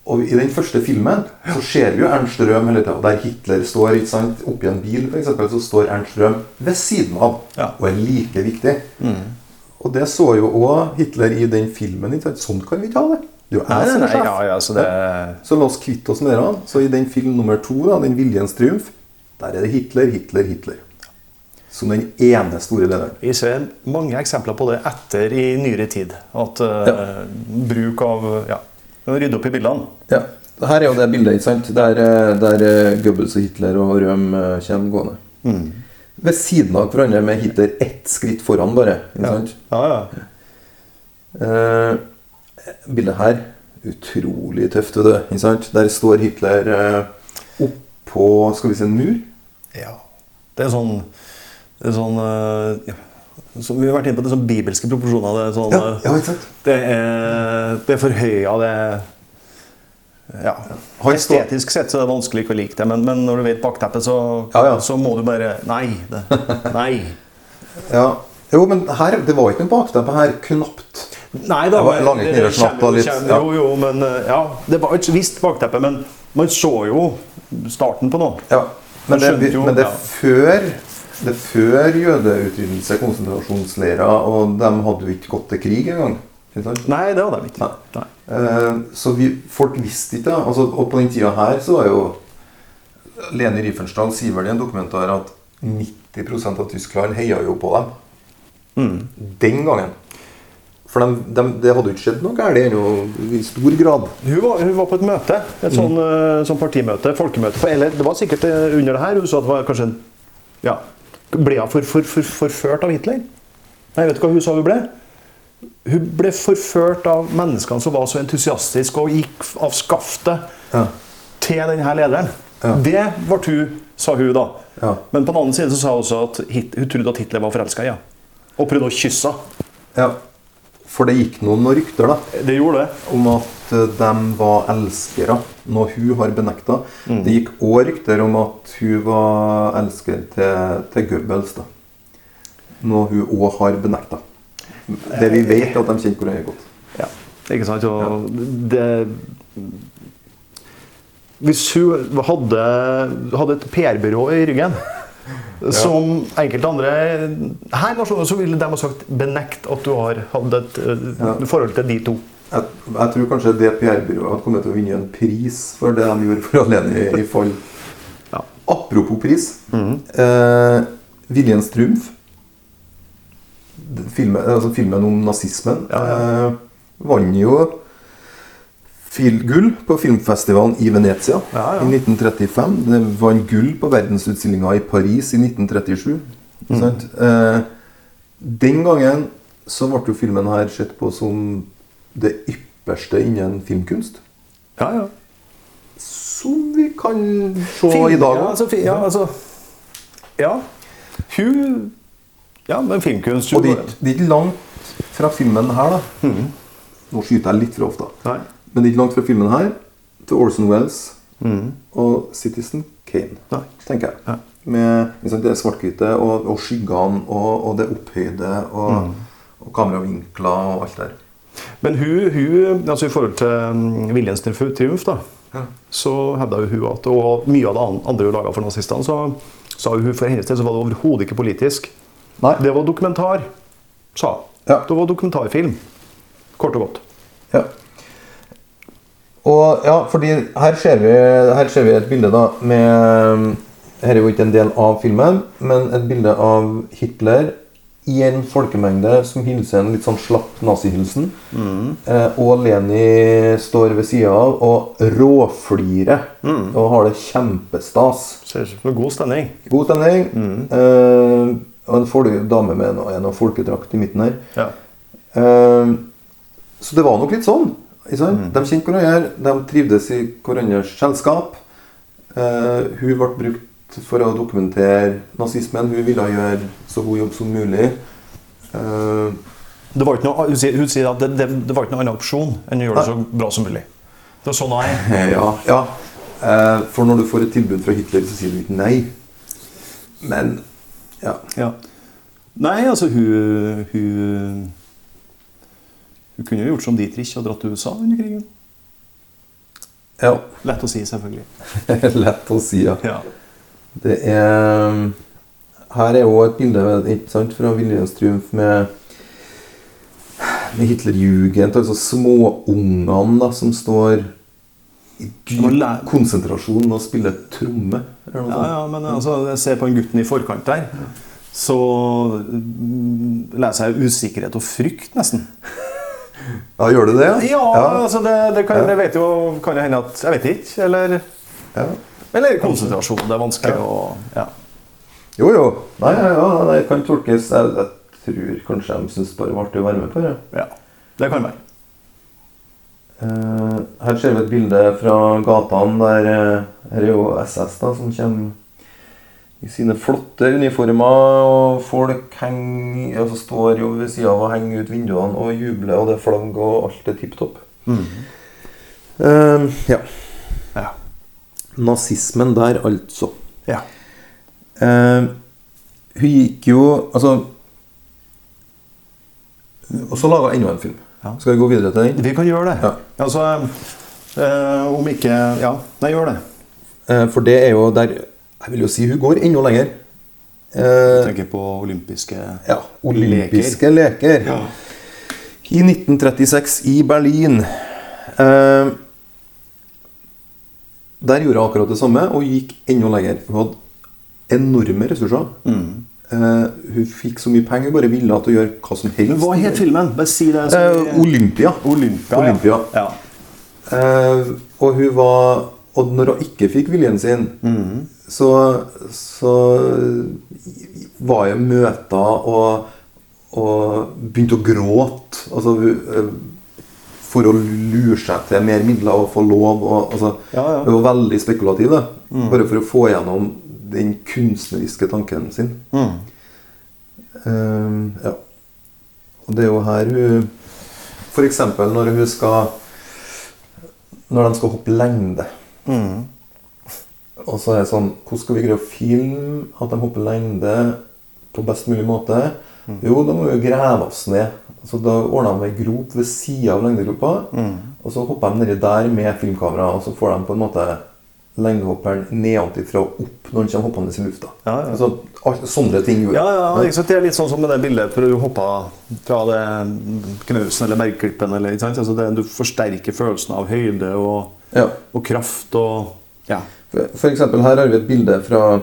[SPEAKER 2] Og i den første filmen så ser vi jo Ernst Røhm hele tiden, der Hitler står ikke sant, oppi en bil, for eksempel, så står Ernst Røhm ved siden av
[SPEAKER 1] Ja. Mm.
[SPEAKER 2] og er like viktig. Og det så jo òg Hitler i den filmen. Ikke sant? Sånn kan vi ikke ha det! Det er jo
[SPEAKER 1] Nei,
[SPEAKER 2] jeg som
[SPEAKER 1] nei,
[SPEAKER 2] er
[SPEAKER 1] nei,
[SPEAKER 2] sjef.
[SPEAKER 1] ja, ja, så Sånn det
[SPEAKER 2] Så la oss kvitte oss med dere. Så i den film nummer to, da, den Viljens triumf, der er det Hitler, Hitler, Hitler. Som den ene store lederen.
[SPEAKER 1] Vi ser mange eksempler på det etter i nyere tid. At eh,
[SPEAKER 2] Ja.
[SPEAKER 1] bruk av Ja, rydde opp i bildene.
[SPEAKER 2] Ja. Her er jo det bildet, ikke sant? Der, eh, der eh, Goebbels og Hitler og Røhm eh, kommer gående. Mm. Ved siden av hverandre med Hitler ett skritt foran, bare. Ikke sant?
[SPEAKER 1] Ja, ja.
[SPEAKER 2] Eh, bildet her utrolig tøft, vet du. Ikke sant? Der står Hitler eh, oppå Skal vi se, en mur?
[SPEAKER 1] ja. Det er sånn, det er sånn eh, ja. som Vi har vært inne på det er sånn bibelske proporsjoner. Det er, sånn,
[SPEAKER 2] Ja,
[SPEAKER 1] eh,
[SPEAKER 2] ja, ikke sant?
[SPEAKER 1] det er, det er forhøya, det er- ja.
[SPEAKER 2] Han står-
[SPEAKER 1] Estetisk sett så er det vanskelig ikke å like det, men, men når du vet bakteppet, så,
[SPEAKER 2] Ja, ja.
[SPEAKER 1] så må du bare Nei. Det, nei.
[SPEAKER 2] Ja. Jo, men her, det var ikke noe bakteppe her. Knapt.
[SPEAKER 1] Nei da.
[SPEAKER 2] Det var
[SPEAKER 1] men-
[SPEAKER 2] lange kniver som
[SPEAKER 1] kjem-
[SPEAKER 2] nappa litt,
[SPEAKER 1] kjem-
[SPEAKER 2] ja.
[SPEAKER 1] Jo, jo, men eh, ja. Det var et visst bakteppe, men man så jo starten på noe.
[SPEAKER 2] Ja. Men,
[SPEAKER 1] Jeg
[SPEAKER 2] det,
[SPEAKER 1] skjønte jo,
[SPEAKER 2] men det
[SPEAKER 1] ja.
[SPEAKER 2] er før det er før jødeutryddelse, konsentrasjonsleirer, og de hadde jo ikke gått til krig engang. ikke sant?
[SPEAKER 1] Nei, det hadde de ikke.
[SPEAKER 2] Nei.
[SPEAKER 1] Nei.
[SPEAKER 2] Eh, Så vi, folk visste ikke det. Altså, og på den tida her så var jo Lene Riefenstahl sier vel i en dokumentar at 90 av Tyskland heia jo på dem. Den gangen. For dem- dem- det hadde jo ikke skjedd noe galt ennå, i stor grad.
[SPEAKER 1] Hun var, hun var på et møte, et sånn, eh, sånn partimøte, folkemøte. For, eller det var sikkert eh, under det her. Hun sa at det var kanskje en ja, Ble hun for, for, for, forført av Hitler? Nei, vet du hva hun sa hun ble? Hun ble forført av menneskene som var så entusiastiske og gikk f- av skaftet
[SPEAKER 2] Ja.
[SPEAKER 1] til denne lederen.
[SPEAKER 2] Ja.
[SPEAKER 1] Det ble hun, sa hun da.
[SPEAKER 2] Ja.
[SPEAKER 1] Men på den annen side så sa hun også at Hit hun trodde at Hitler var forelska i henne. Og prøvde å kysse henne.
[SPEAKER 2] Ja, for det gikk noen rykter da
[SPEAKER 1] Det gjorde det.
[SPEAKER 2] om at eh, de var elskere, noe hun har benekta.
[SPEAKER 1] Mm.
[SPEAKER 2] Det gikk òg rykter om at hun var elsker til, til Goebbels, da. Noe hun òg har benekta. Det vi vet, er at de kjente hverandre godt.
[SPEAKER 1] Ja, ikke sant? Og det Hvis hun hadde, hadde et PR-byrå i ryggen Som enkelte andre her i nasjonen så ville de ha sagt benekt at du har hatt et eh,
[SPEAKER 2] Ja.
[SPEAKER 1] forhold til de to.
[SPEAKER 2] Jeg, jeg tror kanskje det PR-byrået hadde kommet til å vinne en pris for det de gjorde for alene i, i fall.
[SPEAKER 1] Ja. Mm.
[SPEAKER 2] Apropos pris. eh, Viljens triumf. Den Filmen, altså filmen om nazismen
[SPEAKER 1] Ja,
[SPEAKER 2] eh, vant jo fil, gull på filmfestivalen i Venezia
[SPEAKER 1] Ja, ja.
[SPEAKER 2] i 1935. Den vant gull på verdensutstillinga i Paris i 1937. ikke
[SPEAKER 1] Mm.
[SPEAKER 2] Sant? Eh, den gangen så ble jo filmen her sett på som det ypperste innen filmkunst.
[SPEAKER 1] Ja, ja.
[SPEAKER 2] Som vi kan se
[SPEAKER 1] Film-
[SPEAKER 2] i dag
[SPEAKER 1] ja,
[SPEAKER 2] òg.
[SPEAKER 1] altså, fi- ja, altså, ja. Hun Ja, men filmkunst hun
[SPEAKER 2] Og det er
[SPEAKER 1] bare-
[SPEAKER 2] ikke- det er ikke langt fra filmen her, da. Nå skyter jeg litt for ofte.
[SPEAKER 1] Mm. Nei.
[SPEAKER 2] Men det er ikke langt fra filmen her til Orson Wells og Citizen Kane,
[SPEAKER 1] Nei.
[SPEAKER 2] tenker jeg. Med liksom, det svart-hvite og, og skyggene og, og det opphøyde og, og kameravinkler og alt der.
[SPEAKER 1] Men hun, hun altså i forhold til mm, Viljens triumf- triumf, da, så hevda jo hun at Og mye av det an- andre hun laga for nazistene, så sa jo hun for hennes del så var det overhodet ikke politisk.
[SPEAKER 2] Nei.
[SPEAKER 1] Det var dokumentar, sa han.
[SPEAKER 2] Ja.
[SPEAKER 1] Det var dokumentarfilm. Kort og godt.
[SPEAKER 2] Ja. Og ja, fordi her ser vi, her ser vi et bilde da med eh, Her er jo ikke en del av filmen, men et bilde av Hitler i en folkemengde som hilser en litt sånn slapp nazihilsen. Eh, og Leni står ved sida av og råflirer og har det kjempestas.
[SPEAKER 1] Ser ut som en god stemning.
[SPEAKER 2] God stemning. Eh, og en fol- dame med en, en folkedrakt i midten her.
[SPEAKER 1] Ja.
[SPEAKER 2] Eh, Så det var nok litt sånn. Ikke sant? De kjente hverandre, de trivdes i hverandres selskap. Eh, hun ble brukt for å dokumentere nazismen. Hun ville gjøre så god jobb som mulig. Eh,
[SPEAKER 1] Det var ikke noe, hun, sier, hun sier at det, det, det var ikke noen annen opsjon enn å gjøre det så bra som mulig. Det er sånn jeg er.
[SPEAKER 2] ja, ja. Eh, for når du får et tilbud fra Hitler, så sier du ikke nei. Men ja.
[SPEAKER 1] Ja. Nei, altså hun, hun Hun kunne jo gjort som Dietrich og dratt til USA under krigen.
[SPEAKER 2] ja.
[SPEAKER 1] Lett å si, selvfølgelig.
[SPEAKER 2] Lett å si, ja.
[SPEAKER 1] Ja.
[SPEAKER 2] Det er Her er jo et bilde ikke sant, fra Viljens triumf med med Hitlerjugend, altså småungene da, som står i
[SPEAKER 1] må
[SPEAKER 2] dyp
[SPEAKER 1] lære-
[SPEAKER 2] konsentrasjon og spiller tromme. Eller noe
[SPEAKER 1] Ja,
[SPEAKER 2] sånt.
[SPEAKER 1] ja, men altså, jeg ser på den gutten i forkant der, så mm, leser jeg usikkerhet og frykt, nesten.
[SPEAKER 2] ja, gjør du det?
[SPEAKER 1] Ja, altså, det, det kan, jeg vet jo Kan det hende at Jeg vet ikke. Eller,
[SPEAKER 2] ja.
[SPEAKER 1] eller konsentrasjon. Det er vanskelig å ja.
[SPEAKER 2] Jo, jo. Nei, ja, ja, det kan tolkes. Jeg, jeg tror kanskje de syns bare det var artig å være med på det.
[SPEAKER 1] ja. Det kan være.
[SPEAKER 2] Eh, her ser vi et bilde fra gatene der eh, Her er jo SS da, som kommer i sine flotte uniformer. Og folk henger, altså står jo ved sida av og henger ut vinduene og jubler, og det er flagg, og alt er tipp topp. Eh, ja.
[SPEAKER 1] Ja.
[SPEAKER 2] Nazismen der, altså.
[SPEAKER 1] ja.
[SPEAKER 2] Eh, hun gikk jo Altså Og så laga enda en film.
[SPEAKER 1] Ja.
[SPEAKER 2] Skal vi gå videre til den?
[SPEAKER 1] Vi kan gjøre det.
[SPEAKER 2] Ja.
[SPEAKER 1] Altså, eh, om ikke Ja, nei, gjør det.
[SPEAKER 2] Eh, For det er jo der Jeg vil jo si hun går enda lenger. Eh,
[SPEAKER 1] Jeg tenker på olympiske
[SPEAKER 2] ja, olympiske leker.
[SPEAKER 1] Ja.
[SPEAKER 2] I 1936 i Berlin. Eh, der gjorde hun akkurat det samme og gikk enda lenger. Hun hadde enorme ressurser.
[SPEAKER 1] Mm.
[SPEAKER 2] Eh, hun fikk så mye penger hun bare ville at hun gjør hva som helst.
[SPEAKER 1] Men hva het filmen? Bare si det. så
[SPEAKER 2] Eh,
[SPEAKER 1] vi-
[SPEAKER 2] Olympia.
[SPEAKER 1] Olympia.
[SPEAKER 2] Olympia.
[SPEAKER 1] Ja.
[SPEAKER 2] Eh, og hun var Og når hun ikke fikk viljen sin,
[SPEAKER 1] Mm.
[SPEAKER 2] så, så var jeg i møter og, og begynte å gråte. Altså, hun, eh, for å lure seg til mer midler og få lov. Og, altså,
[SPEAKER 1] Ja, Mm. ja.
[SPEAKER 2] Hun var veldig spekulativ, da. bare for å få gjennom den kunstneriske tanken sin.
[SPEAKER 1] Mm.
[SPEAKER 2] Eh, ja. Og det er jo her hun F.eks. når hun skal når de skal hoppe lengde.
[SPEAKER 1] Mm.
[SPEAKER 2] Og så er det sånn Hvordan skal vi greie å filme at de hopper lengde på best mulig måte?
[SPEAKER 1] Mm.
[SPEAKER 2] Jo, da må vi jo grave oss ned. Så da ordna de ei grop ved sida av lengdegropa,
[SPEAKER 1] Mm.
[SPEAKER 2] og så hopper de nedi der med filmkamera, og så får de på en måte lengdehopperen nedenfra og opp når han kommer hoppende i lufta.
[SPEAKER 1] Ja, ja.
[SPEAKER 2] Altså, alt- sånne ting gjorde
[SPEAKER 1] Ja, ja, ikke sant? Det er litt sånn som med det bildet for du hoppa fra det knausen eller bergklippen. Eller, ikke sant? Altså det, du forsterker følelsen av høyde og,
[SPEAKER 2] Ja.
[SPEAKER 1] og kraft og ja.
[SPEAKER 2] For for eksempel her har vi et bilde fra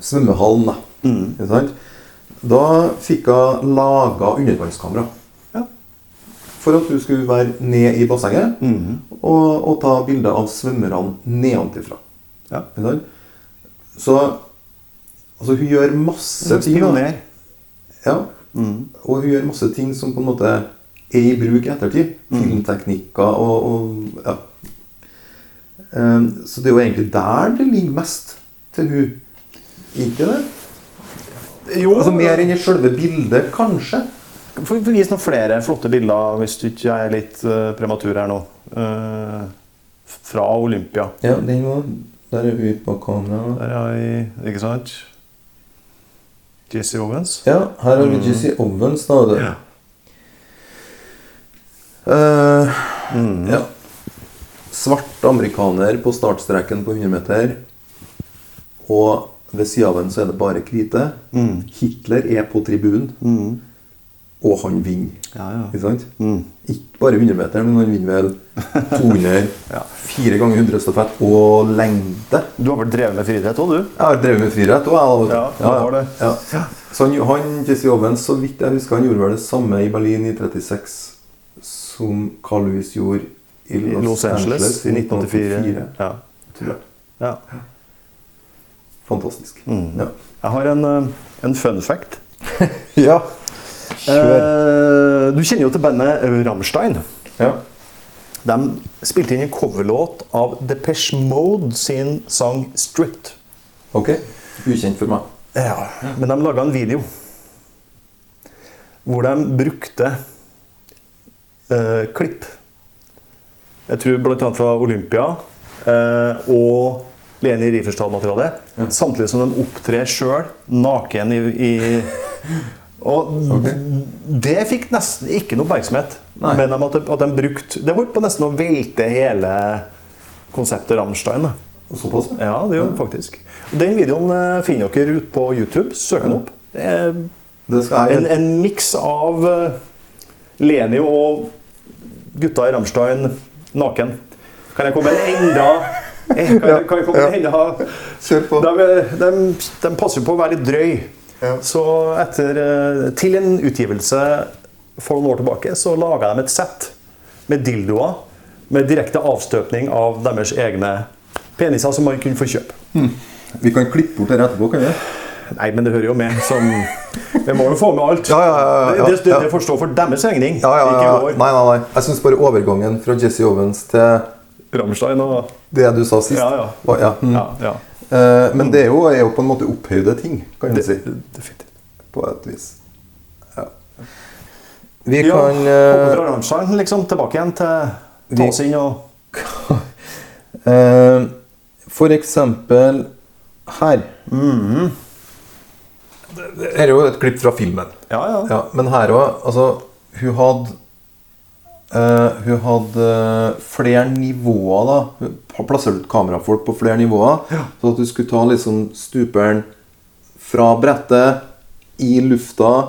[SPEAKER 2] svømmehallen. Da, Ikke sant? da fikk hun laga undervannskamera.
[SPEAKER 1] Ja.
[SPEAKER 2] For at hun skulle være ned i bassenget og, og ta bilder av svømmerne nedenfra.
[SPEAKER 1] Ja.
[SPEAKER 2] Ikke sant? Så altså, hun gjør masse ting. da.
[SPEAKER 1] Pioner.
[SPEAKER 2] Ja. Og hun gjør masse ting som på en måte er i bruk i ettertid. Filmteknikker og, og ja. Ehm, så det er jo egentlig der det ligger mest til hun. Ikke det?
[SPEAKER 1] Jo,
[SPEAKER 2] Altså Mer enn i selve bildet, kanskje.
[SPEAKER 1] Få få vise noen flere flotte bilder, hvis du ikke er litt eh, prematur her nå. Eh, fra Olympia.
[SPEAKER 2] Ja, den var Der er hun på kamera.
[SPEAKER 1] Der er jeg, ikke sant? Jesse Owens.
[SPEAKER 2] Ja, her har vi Jesse Owens, da. Det. Eh,
[SPEAKER 1] Mm.
[SPEAKER 2] ja. Svart amerikaner på startstreken på 100 meter. Og Ved sida av ham så er det bare hvite.
[SPEAKER 1] Mm.
[SPEAKER 2] Hitler er på tribunen,
[SPEAKER 1] Mm.
[SPEAKER 2] og han vinner.
[SPEAKER 1] Ja, ja.
[SPEAKER 2] Ikke sant?
[SPEAKER 1] Mm.
[SPEAKER 2] Ikke bare 100 meter, men han vinner vel 200,
[SPEAKER 1] Ja.
[SPEAKER 2] fire ganger 100 stafett og lengde.
[SPEAKER 1] Du har vel drevet med friidrett òg, du?
[SPEAKER 2] Jeg har drevet med friidrett òg, jeg. da, vet du.
[SPEAKER 1] Ja, du har det.
[SPEAKER 2] Ja. Så han, han Jesse Owens, så vidt jeg husker, han gjorde vel det samme i Berlin i 36 som Carl Louis gjorde i
[SPEAKER 1] I
[SPEAKER 2] Los,
[SPEAKER 1] Los Angeles i 1984.
[SPEAKER 2] 1984.
[SPEAKER 1] Ja.
[SPEAKER 2] Tror jeg.
[SPEAKER 1] ja.
[SPEAKER 2] Fantastisk.
[SPEAKER 1] Mm.
[SPEAKER 2] Ja.
[SPEAKER 1] Jeg har en, eh, en fun fact.
[SPEAKER 2] ja.
[SPEAKER 1] Eh, du kjenner jo til bandet Ramstein.
[SPEAKER 2] Ja.
[SPEAKER 1] De spilte inn en coverlåt av Depeche Mode sin sang 'Stripped'.
[SPEAKER 2] Ok. Ukjent for meg.
[SPEAKER 1] Ja, men de laga en video hvor de brukte eh, klipp. Jeg tror bl.a. fra Olympia eh, og Leni Riferstad-materialet. Samtidig som de opptrer sjøl naken i, i Og det fikk nesten ikke noe oppmerksomhet.
[SPEAKER 2] Nei.
[SPEAKER 1] Men de, at, de, at de brukte Det holdt på nesten å velte hele konseptet Rammstein. da.
[SPEAKER 2] Og Såpass? ja.
[SPEAKER 1] Ja, det gjør den faktisk. Den videoen eh, finner dere ut på YouTube. Søk den opp. Det er
[SPEAKER 2] Det skal jeg
[SPEAKER 1] en, en miks av eh, Leni og gutta i Rammstein naken. Kan jeg komme med en enda eh, Kan jeg, kan jeg komme med en enda
[SPEAKER 2] Kjør på.
[SPEAKER 1] de, eh, de, de passer jo på å være litt drøy.
[SPEAKER 2] Ja.
[SPEAKER 1] Så etter, eh, til en utgivelse for noen år tilbake så laga de et sett med dildoer med direkte avstøpning av deres egne peniser som man kunne få kjøpe.
[SPEAKER 2] Vi kan klippe bort dette etterpå, kan vi?
[SPEAKER 1] Nei, men det hører jo med. Som, vi må jo få med alt.
[SPEAKER 2] Ja, ja, ja, ja, ja.
[SPEAKER 1] Det, det, det får stå for deres regning,
[SPEAKER 2] Ja, ja, ja.
[SPEAKER 1] ikke
[SPEAKER 2] Nei, nei, nei. Jeg syns bare overgangen fra Jesse Owens til
[SPEAKER 1] vår. Rammstein og
[SPEAKER 2] det du sa sist
[SPEAKER 1] Ja, ja.
[SPEAKER 2] var- ja. Mm.
[SPEAKER 1] Ja, ja.
[SPEAKER 2] Eh, Men det er jo, er jo på en måte opphøyde ting, kan vi si.
[SPEAKER 1] Definitivt.
[SPEAKER 2] På et vis. Ja. Vi
[SPEAKER 1] Ja,
[SPEAKER 2] kan
[SPEAKER 1] hoppe
[SPEAKER 2] eh,
[SPEAKER 1] fra Rammstein liksom, tilbake igjen til
[SPEAKER 2] Vi-
[SPEAKER 1] ta oss inn og
[SPEAKER 2] eh, For eksempel her. Mm-hmm. Det- det her er jo et klipp fra filmen.
[SPEAKER 1] Ja, ja.
[SPEAKER 2] Ja, men her òg Altså, hun hadde eh, Hun hadde flere nivåer, da. Hun pl- plasserte ut kamerafolk på flere nivåer. Så at du skulle ta liksom stuperen fra brettet, i lufta,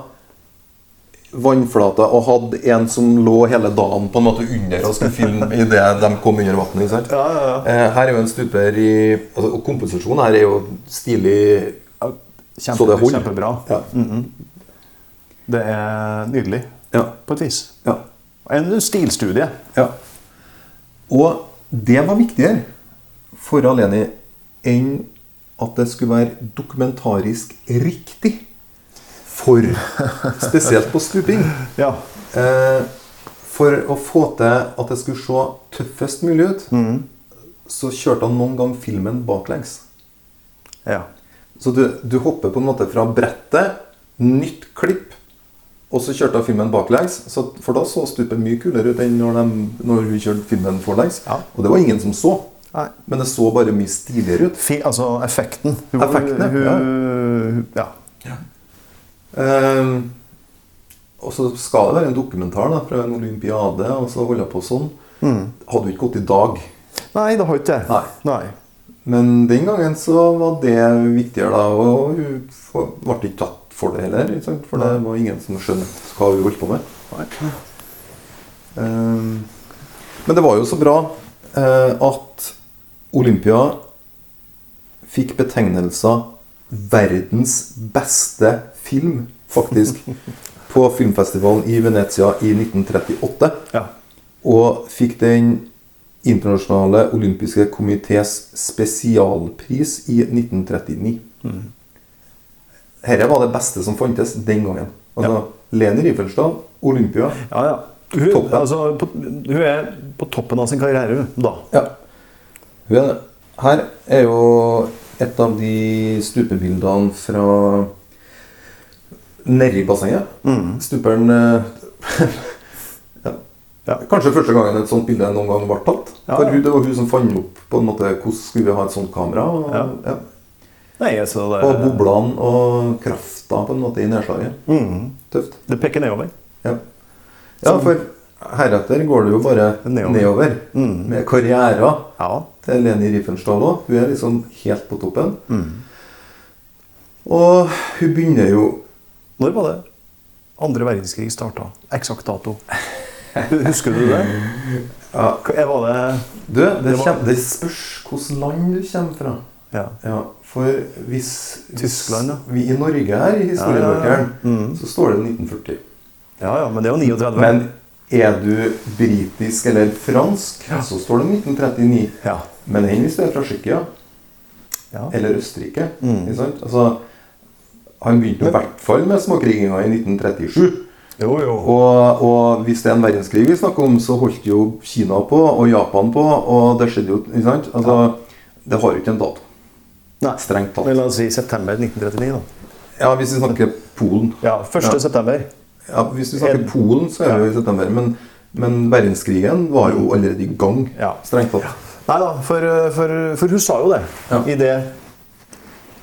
[SPEAKER 2] vannflata, og hadde en som lå hele dagen på en måte under og skulle filme idet de kom under vannet. Ikke sant?
[SPEAKER 1] Ja, ja, ja.
[SPEAKER 2] Eh, Her er jo en stuper i altså, Og komposisjonen her er jo stilig. så det
[SPEAKER 1] Kjempe,
[SPEAKER 2] holder.
[SPEAKER 1] kjempebra. Mm.
[SPEAKER 2] Ja.
[SPEAKER 1] Det er nydelig,
[SPEAKER 2] ja.
[SPEAKER 1] på et vis.
[SPEAKER 2] ja.
[SPEAKER 1] En stilstudie.
[SPEAKER 2] Ja. Og det var viktigere for Aleni enn at det skulle være dokumentarisk riktig. For Spesielt på stuping.
[SPEAKER 1] Ja.
[SPEAKER 2] Eh, for å få til at det skulle se tøffest mulig ut, så kjørte han noen gang filmen baklengs.
[SPEAKER 1] ja.
[SPEAKER 2] Så du, du hopper på en måte fra brettet, nytt klipp, og så kjørte jeg filmen baklengs. Så, for da så stupet mye kulere ut enn når, de, når hun kjørte filmen forlengs.
[SPEAKER 1] Ja.
[SPEAKER 2] Og det var ingen som så.
[SPEAKER 1] Nei.
[SPEAKER 2] Men det så bare mye stiligere ut.
[SPEAKER 1] Fi, altså effekten. Hun,
[SPEAKER 2] Effekten, ja.
[SPEAKER 1] hun, ja.
[SPEAKER 2] Ehm, og så skal det være en dokumentar da, fra en olympiade, og så holde på sånn. Hadde jo ikke gått i dag.
[SPEAKER 1] Nei, det har ikke det.
[SPEAKER 2] Nei. Men den gangen så var det viktigere, da. Og hun få- ble ikke tatt for det heller. Ikke sant? For det var ingen som skjønte hva hun holdt på med. Eh, Men det var jo så bra eh, at Olympia fikk betegnelser 'verdens beste film', faktisk, på filmfestivalen i Venezia i 1938.
[SPEAKER 1] Ja.
[SPEAKER 2] Og fikk den internasjonale olympiske komités spesialpris i 1939. Dette var det beste som fantes den gangen. Altså, Leni Riefenstahl, Olympia.
[SPEAKER 1] Ja, ja. Hun,
[SPEAKER 2] Toppen.
[SPEAKER 1] altså, på, hun er på toppen av sin karriere hun, da.
[SPEAKER 2] Ja. Hun er det. Her er jo et av de stupebildene fra nedi bassenget.
[SPEAKER 1] Mm.
[SPEAKER 2] Stuperen eh, ja.
[SPEAKER 1] Ja.
[SPEAKER 2] Kanskje første gangen et sånt bilde noen gang ble tatt.
[SPEAKER 1] Ja, ja.
[SPEAKER 2] For hun, Det var hun som fant opp på en måte hvordan skulle vi ha et sånt kamera. Og, ja.
[SPEAKER 1] Ja. Nei, altså, det,
[SPEAKER 2] og boblene og krafta på en måte i nedslaget.
[SPEAKER 1] Mm.
[SPEAKER 2] Tøft.
[SPEAKER 1] det peker nedover.
[SPEAKER 2] Ja. ja, for heretter går det jo bare
[SPEAKER 1] Nedover. Mm.
[SPEAKER 2] nedover, med karrierer
[SPEAKER 1] Ja. Mm.
[SPEAKER 2] til Leni Riefenstahl òg. Hun er liksom helt på toppen. Og hun begynner jo
[SPEAKER 1] Når var det andre verdenskrig starta? Eksakt dato. Husker du det?
[SPEAKER 2] Ja.
[SPEAKER 1] Hva- Jeg var det
[SPEAKER 2] Du, det,
[SPEAKER 1] var-
[SPEAKER 2] kjem, det spørs hvilket land du kommer fra.
[SPEAKER 1] Ja.
[SPEAKER 2] Ja, For hvis,
[SPEAKER 1] Tyskland, ja.
[SPEAKER 2] hvis vi i Norge her i historiebøkene,
[SPEAKER 1] Ja, ja, ja. Mhm.
[SPEAKER 2] så står det 1940.
[SPEAKER 1] ja, ja, men det er jo 39.
[SPEAKER 2] Men er du britisk eller fransk, så står det 1939.
[SPEAKER 1] ja.
[SPEAKER 2] Men enn hvis du er fra Tsjekkia
[SPEAKER 1] ja.
[SPEAKER 2] eller Østerrike.
[SPEAKER 1] Mhm.
[SPEAKER 2] Ikke sant? Altså, han begynte jo i hvert fall med småkriginga i 1937.
[SPEAKER 1] Jo, jo.
[SPEAKER 2] Og, og hvis det er en verdenskrig vi snakker om, så holdt jo Kina på, og Japan på, og det skjedde jo ikke sant? Altså, Det har jo ikke en dato.
[SPEAKER 1] Nei.
[SPEAKER 2] Strengt
[SPEAKER 1] Men
[SPEAKER 2] tatt.
[SPEAKER 1] la oss si september 1939, da.
[SPEAKER 2] Ja, hvis vi snakker Polen.
[SPEAKER 1] Ja, 1.
[SPEAKER 2] Ja.
[SPEAKER 1] september.
[SPEAKER 2] Ja, hvis vi snakker
[SPEAKER 1] En-
[SPEAKER 2] Polen, så er det jo i september. Men, men verdenskrigen var jo allerede i gang.
[SPEAKER 1] Ja.
[SPEAKER 2] Strengt tatt.
[SPEAKER 1] Nei da, for, for, for hun sa jo det.
[SPEAKER 2] Ja.
[SPEAKER 1] I det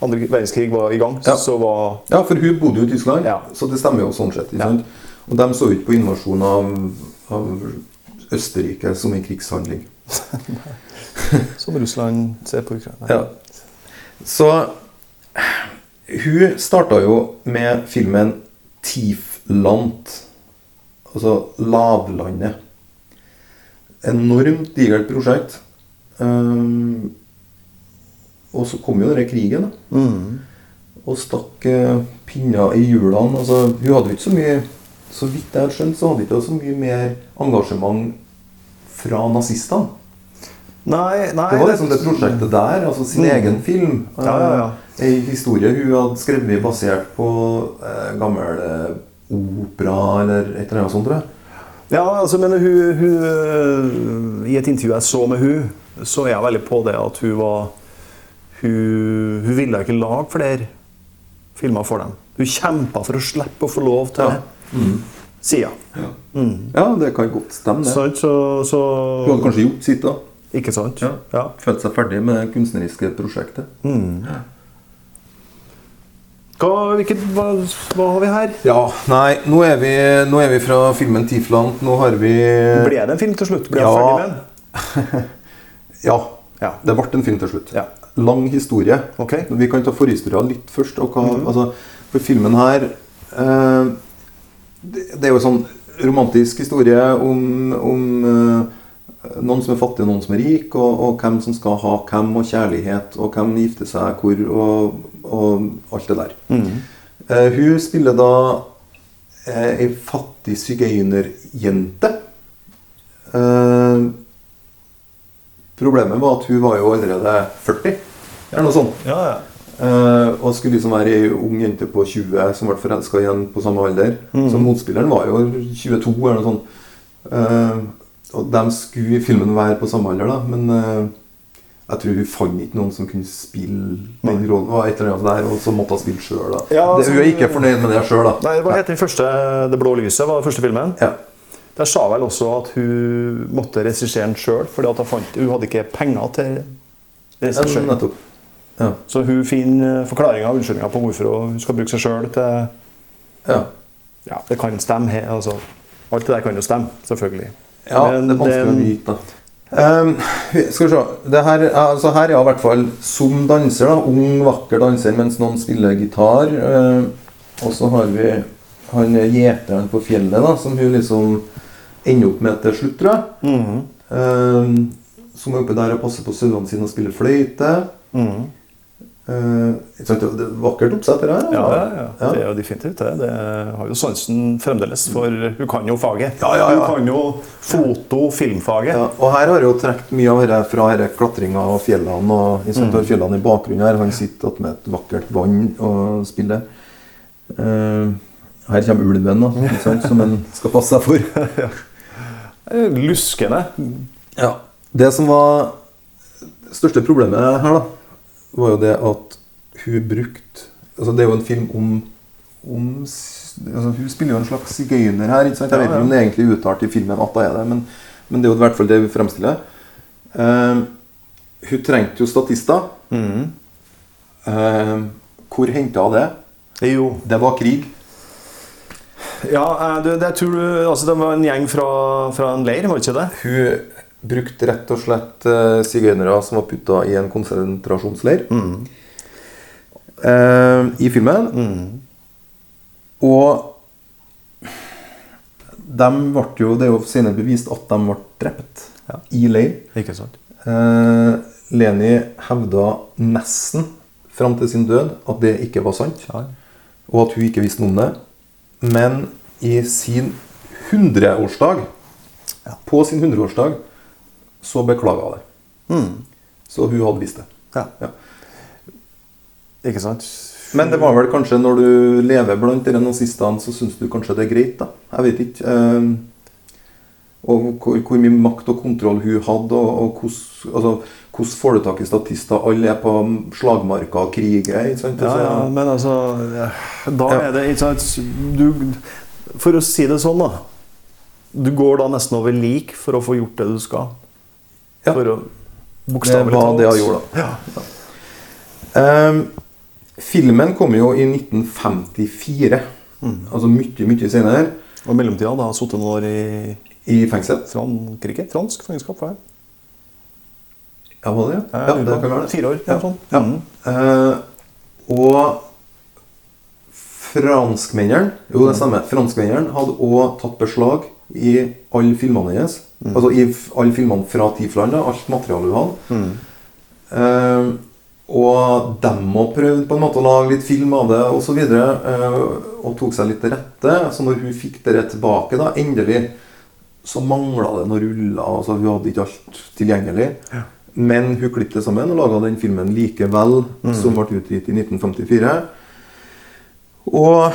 [SPEAKER 1] andre verdenskrig var i gang,
[SPEAKER 2] Ja.
[SPEAKER 1] så var
[SPEAKER 2] Ja, for hun bodde jo i Tyskland,
[SPEAKER 1] Ja.
[SPEAKER 2] så det stemmer jo sånn sett. Ikke
[SPEAKER 1] Ja.
[SPEAKER 2] sant? Og de så ikke på invasjonen av, av Østerrike som en krigshandling.
[SPEAKER 1] Som Russland ser på Ukraina.
[SPEAKER 2] Ja. Så hun starta jo med filmen 'Tiflant', altså 'Lavlandet'. Enormt digert prosjekt. Ehm, og så kom jo denne krigen, da. Og stakk eh, pinner i hjulene. Altså, hun hadde jo ikke så mye Så vidt jeg har skjønt, så hadde hun ikke så mye mer engasjement fra nazistene.
[SPEAKER 1] Nei, nei
[SPEAKER 2] Det var liksom det prosjektet der, altså sin
[SPEAKER 1] Mm.
[SPEAKER 2] egen film.
[SPEAKER 1] Ja, ja, ja.
[SPEAKER 2] Eh, Ei historie hun hadde skrevet basert på eh, gammel eh, opera eller et eller annet sånt, tror jeg.
[SPEAKER 1] Ja, altså, men hun, hun eh, I et intervju jeg så med hun, så er jeg veldig på det at hun var Hun, hun ville ikke lage flere filmer for dem. Hun kjempa for å slippe å få lov til
[SPEAKER 2] Ja. Mm.
[SPEAKER 1] det, sier hun.
[SPEAKER 2] Ja, det kan godt stemme, det.
[SPEAKER 1] Sant? Så, så
[SPEAKER 2] Hun hadde kanskje gjort sitt da.
[SPEAKER 1] Ikke sant?
[SPEAKER 2] Ja.
[SPEAKER 1] Ja.
[SPEAKER 2] Følt seg ferdig med det kunstneriske prosjektet.
[SPEAKER 1] Hva, hvilket, hva, hva har vi her?
[SPEAKER 2] Ja, nei, nå er vi, nå er vi fra filmen 'Tiflant'. Nå har vi
[SPEAKER 1] Ble det en film til slutt? Ble
[SPEAKER 2] Ja.
[SPEAKER 1] jeg ferdig med den?
[SPEAKER 2] Ja.
[SPEAKER 1] Ja.
[SPEAKER 2] Det ble en film til slutt.
[SPEAKER 1] Ja.
[SPEAKER 2] Lang historie.
[SPEAKER 1] Ok.
[SPEAKER 2] Vi kan ta forhistoria litt først. Og hva, altså, for filmen her eh, det, det er jo en sånn romantisk historie om, om eh, noen som er fattig, og noen som er rik, og, og hvem som skal ha hvem, og kjærlighet, og hvem gifter seg hvor, og, og alt det der. Eh, hun spiller da eh, ei fattig sigøynerjente. Eh, Problemet var at hun var jo allerede 40, eller noe sånt.
[SPEAKER 1] Ja, ja.
[SPEAKER 2] Eh, og skulle liksom være ei ung jente på 20 som ble forelska igjen på samme alder.
[SPEAKER 1] Mm.
[SPEAKER 2] Så motspilleren var jo 22 eller noe sånt. Eh, og de skulle i filmen være på samme alder, da, men eh, jeg tror hun fant ikke noen som kunne spille den rollen. Og et eller annet der, og så måtte hun spille sjøl, da.
[SPEAKER 1] Ja,
[SPEAKER 2] det, hun er
[SPEAKER 1] altså-
[SPEAKER 2] ikke fornøyd med det sjøl, da.
[SPEAKER 1] Nei, hva heter den første Det blå lyset? var den første filmen?
[SPEAKER 2] Ja.
[SPEAKER 1] Der sa vel også at hun måtte regissere den sjøl, fordi at hun, fant, hun hadde ikke penger til
[SPEAKER 2] Ja,
[SPEAKER 1] regissør.
[SPEAKER 2] nettopp. Ja.
[SPEAKER 1] Så hun finner forklaringer og unnskyldninger på hvorfor hun skal bruke seg sjøl til
[SPEAKER 2] ja.
[SPEAKER 1] Ja, det kan stemme. he- Altså, alt det der kan jo stemme, selvfølgelig.
[SPEAKER 2] Ja,
[SPEAKER 1] Men
[SPEAKER 2] det er vanskelig å
[SPEAKER 1] det-
[SPEAKER 2] vite, da. Ehm, vi- skal vi se det her, altså her er jeg i hvert fall som danser. da Ung, vakker danser mens noen spiller gitar. Ehm, og så har vi han gjeteren på fjellet, da som hun liksom ender opp med til slutt, tror jeg. Mhm, Ehm, som er oppe der og passer på sauene sine og spiller fløyte. mhm. Ehm, ikke sant, det er vakkert oppsett, det altså. her. da.
[SPEAKER 1] Ja, ja, ja, det er jo definitivt det. Det har jo sansen fremdeles, for hun kan jo faget.
[SPEAKER 2] Ja, ja, ja.
[SPEAKER 1] Hun kan jo foto- filmfaget.
[SPEAKER 2] Ja, og her har jeg jo trukket mye av dette fra dette klatringa og fjellene. og jeg mm. fjellene i bakgrunnen her. Han sitter attmed et vakkert vann og spiller. Eh, her kommer ulven, da, ikke sant, som han skal passe seg for.
[SPEAKER 1] Eh, Luskende.
[SPEAKER 2] Ja. Det som var det største problemet her, da, var jo det at hun brukte altså Det er jo en film om, om s- altså Hun spiller jo en slags sigøyner her. ikke sant? Jeg
[SPEAKER 1] Ja,
[SPEAKER 2] vet ikke
[SPEAKER 1] ja.
[SPEAKER 2] om det er egentlig uttalt i filmen at hun er det, men, men det er jo i hvert fall det vi fremstiller. Eh, hun trengte jo statister. Mhm. Eh, hvor henta hun det?
[SPEAKER 1] Jo.
[SPEAKER 2] Det var krig.
[SPEAKER 1] Ja, eh, du, det tror du Altså, det var en gjeng fra, fra en leir, var det ikke det?
[SPEAKER 2] Hun brukte rett og slett eh, sigøynere som var putta i en konsentrasjonsleir. Eh, eh, i filmen. Og de ble jo, det er jo senere bevist at de ble drept
[SPEAKER 1] Ja.
[SPEAKER 2] i leir.
[SPEAKER 1] Ikke sant?
[SPEAKER 2] Eh, Leni hevda nesten fram til sin død at det ikke var sant,
[SPEAKER 1] Ja.
[SPEAKER 2] og at hun ikke visste noe om det. Men i sin 100-årsdag,
[SPEAKER 1] Ja.
[SPEAKER 2] på sin 100-årsdag, så beklaga hun det. Hmm. Så hun hadde visst det.
[SPEAKER 1] Ja.
[SPEAKER 2] Ja.
[SPEAKER 1] Ikke sant?
[SPEAKER 2] Men det var vel kanskje når du lever blant de nazistene, så syns du kanskje det er greit, da. Jeg vet ikke. eh, og hvor, hvor mye makt og kontroll hun hadde, og, og hvordan altså, hvordan får du tak i statister? Alle er på slagmarka og krig. eh, Ikke sant?
[SPEAKER 1] Ja, ja,
[SPEAKER 2] Altså,
[SPEAKER 1] men altså ja, Da
[SPEAKER 2] Ja.
[SPEAKER 1] er det ikke sant du, For å si det sånn, da. Du går da nesten over lik for å få gjort det du skal.
[SPEAKER 2] Ja.
[SPEAKER 1] For å
[SPEAKER 2] det
[SPEAKER 1] bokstavelig
[SPEAKER 2] var det hun gjorde, da. Eh, filmen kom jo i 1954.
[SPEAKER 1] Mm.
[SPEAKER 2] Altså mye, mye senere.
[SPEAKER 1] Og i mellomtida da, har jeg sittet noen år i
[SPEAKER 2] I fengsel.
[SPEAKER 1] Frankrike? Fransk fangenskap? hva er det?
[SPEAKER 2] Ja, var det det?
[SPEAKER 1] Ja, jeg lurer
[SPEAKER 2] det
[SPEAKER 1] på.
[SPEAKER 2] kan være det.
[SPEAKER 1] Fire år,
[SPEAKER 2] Ja.
[SPEAKER 1] eller sånn.
[SPEAKER 2] Ja.
[SPEAKER 1] Mhm.
[SPEAKER 2] Eh, og franskmennene Jo, det stemmer. Franskmennene hadde også tatt beslag i alle filmene hennes. Altså i f- alle filmene fra Tifland, da, alt materialet hun hadde. Eh, og dem òg prøvde på en måte å lage litt film av det osv. Og, så videre, eh, og tok seg litt til rette. Så når hun fikk det tilbake, da, endelig, så mangla det noen ruller. Altså, hun hadde ikke alt tilgjengelig. Men hun klippet det sammen og laga den filmen likevel, som ble utgitt i 1954. Og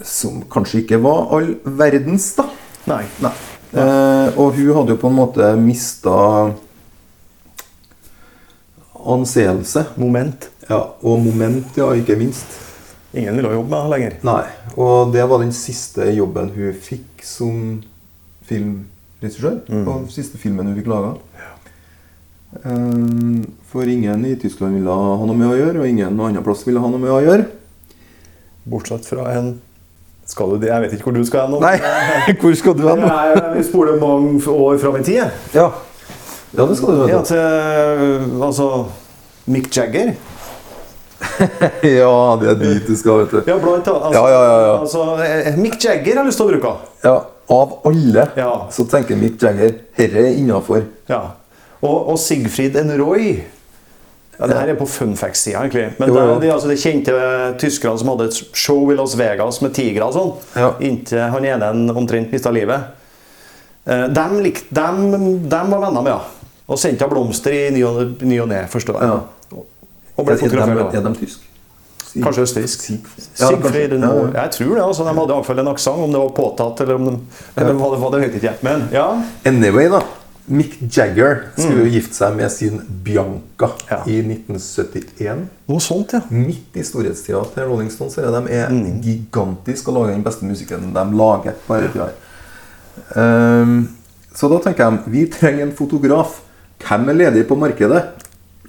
[SPEAKER 2] som kanskje ikke var all verdens, da.
[SPEAKER 1] Nei. Nei.
[SPEAKER 2] Eh, og hun hadde jo på en måte mista anseelse.
[SPEAKER 1] Moment.
[SPEAKER 2] Ja, og moment, ja, ikke minst.
[SPEAKER 1] Ingen ville jobbe med henne lenger.
[SPEAKER 2] Nei. Og det var den siste jobben hun fikk som filmregissør. Og den siste filmen hun fikk laga. For ingen i Tyskland ville ha noe med å gjøre, og ingen noe annet plass ville ha noe med å gjøre.
[SPEAKER 1] Bortsett fra en Skal du det? Jeg vet ikke hvor du skal hen nå.
[SPEAKER 2] Nei, hvor skal du hen?
[SPEAKER 1] Jeg- Vi spoler mange f- år fram i tid. jeg.
[SPEAKER 2] Ja. ja, eh, det skal du
[SPEAKER 1] Ja,
[SPEAKER 2] vite.
[SPEAKER 1] til øh, altså Mick Jagger.
[SPEAKER 2] Ja, det er dit du skal, vet du.
[SPEAKER 1] Ja, blant annet. Altså,
[SPEAKER 2] Ja, ja, ja, ja.
[SPEAKER 1] Altså, eh, Mick Jagger har jeg lyst til å bruke.
[SPEAKER 2] Ja, Av alle
[SPEAKER 1] Ja.
[SPEAKER 2] så tenker Mick Jagger herre er innafor.
[SPEAKER 1] Ja. Og, og Sigfrid and Roy. Ja, det her er på funfact-sida, egentlig. Men
[SPEAKER 2] Jo,
[SPEAKER 1] det,
[SPEAKER 2] jo.
[SPEAKER 1] det, er altså, det kjente eh, tyskerne som hadde et show i Las Vegas med tigre og sånn,
[SPEAKER 2] Ja.
[SPEAKER 1] inntil han ene en omtrent mista livet. Eh, Dem, lik, dem, dem var venner med, ja. Og sendte henne blomster i ny og ny og ne, forstår jeg.
[SPEAKER 2] Ja.
[SPEAKER 1] Og ble
[SPEAKER 2] Er, er, de,
[SPEAKER 1] fotografert.
[SPEAKER 2] er
[SPEAKER 1] da.
[SPEAKER 2] de tysk?
[SPEAKER 1] Kanskje østerriksk.
[SPEAKER 2] Sig- Ja, kanskje.
[SPEAKER 1] Sigfrid and
[SPEAKER 2] Ja, ja.
[SPEAKER 1] Roy. Jeg tror det. altså, De hadde iallfall en aksent, om det var påtatt eller om de, eller hva det var, det vet ikke jeg. Men ja.
[SPEAKER 2] Anyway, da. Mick Jagger skulle jo gifte seg med sin Bianca
[SPEAKER 1] Mm. Ja.
[SPEAKER 2] i 1971.
[SPEAKER 1] Noe sånt, ja.
[SPEAKER 2] Midt i storhetstida til Rolling Stones. her, De er
[SPEAKER 1] Mm.
[SPEAKER 2] gigantiske og lager den beste musikken de lager. på hele tida. Ehm, så da tenker jeg vi trenger en fotograf. Hvem er ledig på markedet?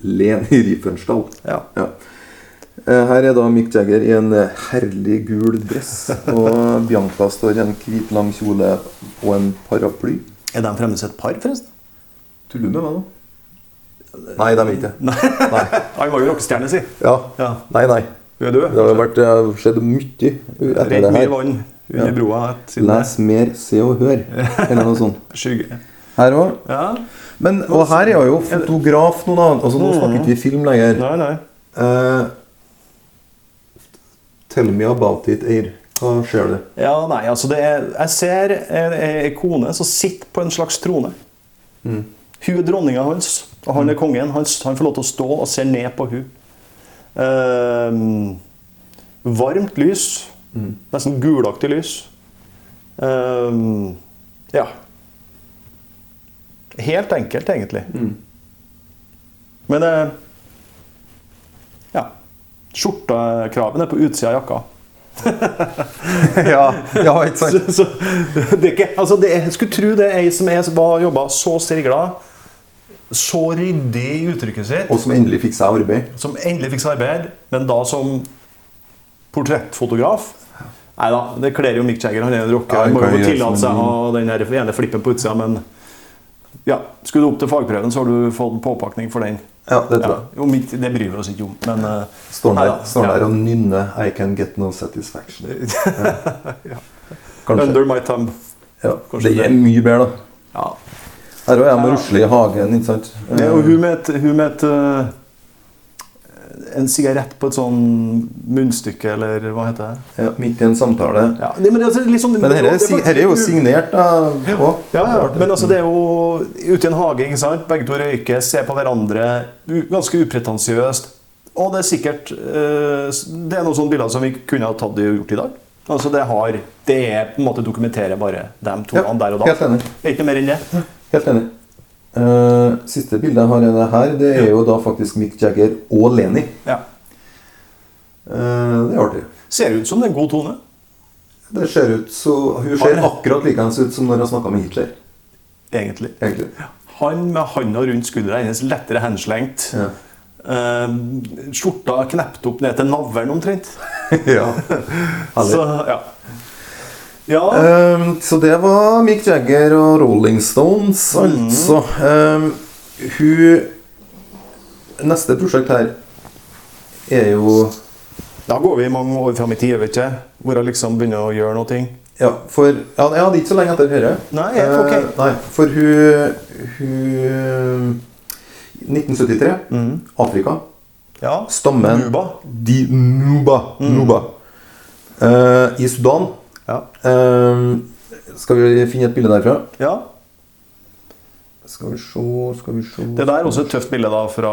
[SPEAKER 2] Leni Riefenstahl.
[SPEAKER 1] Ja.
[SPEAKER 2] Eh, Her er da Mick Jagger i en eh, herlig gul dress. Og Bianca står i en hvit, lang kjole og en paraply.
[SPEAKER 1] Er de fremdeles et par, forresten?
[SPEAKER 2] Tuller du med meg nå? Nei, de er ikke det.
[SPEAKER 1] Han var jo rockestjerne, si.
[SPEAKER 2] Ja.
[SPEAKER 1] Ja.
[SPEAKER 2] Nei, nei.
[SPEAKER 1] Du er død.
[SPEAKER 2] Det har vært, det har skjedd mye etter
[SPEAKER 1] Rent
[SPEAKER 2] det
[SPEAKER 1] mye
[SPEAKER 2] her.
[SPEAKER 1] vann under
[SPEAKER 2] Ja.
[SPEAKER 1] broa siden
[SPEAKER 2] Les mer, se og hør. Eller noe sånt.
[SPEAKER 1] det er skygge.
[SPEAKER 2] Her òg.
[SPEAKER 1] Ja.
[SPEAKER 2] Men og her er jo fotograf noen annen. Altså, nå snakker ikke vi film lenger.
[SPEAKER 1] Nei, nei.
[SPEAKER 2] Eh, tell me about it, Eir. Hva skjer det?
[SPEAKER 1] Ja, nei, altså det er, Jeg ser en, en kone som sitter på en slags trone. Hun er dronninga hans, og han er kongen. Han, han får lov til å stå og se ned på hun. Ehm, varmt lys. Nesten gulaktig lys. Ehm, ja. Helt enkelt, egentlig. Men eh, ja. Skjortekraven er på utsida av jakka.
[SPEAKER 2] ja, ja, ikke sant?
[SPEAKER 1] Så, så, det er ikke, altså det er, jeg skulle tro det er ei som er, var jobba så strigla, så ryddig i uttrykket sitt,
[SPEAKER 2] Og som endelig fikk seg arbeid.
[SPEAKER 1] som endelig fikk seg arbeid, men da som portrettfotograf. Nei da, det kler jo Mick Jagger. Han er en rocker.
[SPEAKER 2] Ja,
[SPEAKER 1] han
[SPEAKER 2] han
[SPEAKER 1] må
[SPEAKER 2] kan
[SPEAKER 1] jo
[SPEAKER 2] gjøre
[SPEAKER 1] tillate
[SPEAKER 2] som-
[SPEAKER 1] seg å ha den her ene flippen på utsida, men Ja, Skulle du opp til fagprøven, så har du fått påpakning for den.
[SPEAKER 2] Ja, det tror
[SPEAKER 1] Ja.
[SPEAKER 2] jeg.
[SPEAKER 1] Om ikke- det bryr vi oss ikke om, men eh,
[SPEAKER 2] Står
[SPEAKER 1] Nei
[SPEAKER 2] der,
[SPEAKER 1] da,
[SPEAKER 2] står
[SPEAKER 1] ja.
[SPEAKER 2] der og nynner 'I can get no satisfaction'.
[SPEAKER 1] Ja.
[SPEAKER 2] Kanskje.
[SPEAKER 1] eh, Under my thumb.
[SPEAKER 2] Ja,
[SPEAKER 1] kanskje
[SPEAKER 2] det
[SPEAKER 1] det.
[SPEAKER 2] er mye bedre, da.
[SPEAKER 1] Ja.
[SPEAKER 2] Her òg er jeg med
[SPEAKER 1] Ja.
[SPEAKER 2] rusle i hagen, ikke sant?
[SPEAKER 1] Det, og hun med et, hun med et eh, en sigarett på et sånn munnstykke, eller hva heter det?
[SPEAKER 2] Ja, midt i en samtale.
[SPEAKER 1] Ja, nei, men altså, litt sånn-
[SPEAKER 2] Men dette
[SPEAKER 1] det
[SPEAKER 2] er, si-
[SPEAKER 1] faktisk-
[SPEAKER 2] her er jo signert da,
[SPEAKER 1] Ja,
[SPEAKER 2] også.
[SPEAKER 1] ja, ja, men altså det er jo ute i en hage, ikke sant? Begge to røyker, ser på hverandre. U ganske upretensiøst. Og det er sikkert eh, s- Det er noen sånne bilder som vi kunne ha tatt og gjort i dag. Altså det har Det er på en måte dokumenterer bare dem to
[SPEAKER 2] Ja,
[SPEAKER 1] der og da.
[SPEAKER 2] Helt enig.
[SPEAKER 1] Det er ikke noe mer enn det.
[SPEAKER 2] Helt enig. Eh, siste bildet jeg har er det her. Det er jo da faktisk Mick Jagger og Lenny.
[SPEAKER 1] Ja.
[SPEAKER 2] Eh, det er artig.
[SPEAKER 1] Ser ut som det er en god tone.
[SPEAKER 2] Det ser ut så, Hun
[SPEAKER 1] Har
[SPEAKER 2] ser
[SPEAKER 1] det.
[SPEAKER 2] akkurat likeens ut som når hun snakka med Hitler.
[SPEAKER 1] Egentlig.
[SPEAKER 2] egentlig.
[SPEAKER 1] Han med handa rundt skuldra hennes, lettere henslengt.
[SPEAKER 2] Ja.
[SPEAKER 1] Eh, skjorta knept opp ned til navlen omtrent.
[SPEAKER 2] ja. Herlig.
[SPEAKER 1] Så, ja. ja.
[SPEAKER 2] Ehm, så det var Mick Jagger og Rolling Stones,
[SPEAKER 1] Mm.
[SPEAKER 2] altså. Ehm, hun Neste prosjekt her er jo
[SPEAKER 1] Da går vi mange år fram i tid, vet ikke? Hvor jeg liksom begynner å gjøre noe.
[SPEAKER 2] Ja, for ja, Jeg hadde ikke så lenge etter dette.
[SPEAKER 1] Nei, helt ok.
[SPEAKER 2] Eh, nei, for hun, hun 1973. Afrika.
[SPEAKER 1] Ja.
[SPEAKER 2] Stammen
[SPEAKER 1] Mm. Nuba. Mm.
[SPEAKER 2] De Nuba. Nuba. Eh, I Sudan.
[SPEAKER 1] Ja.
[SPEAKER 2] Ehm, skal vi finne et bilde derfra?
[SPEAKER 1] ja.
[SPEAKER 2] Skal vi se, skal vi se
[SPEAKER 1] Det der er også et tøft bilde da fra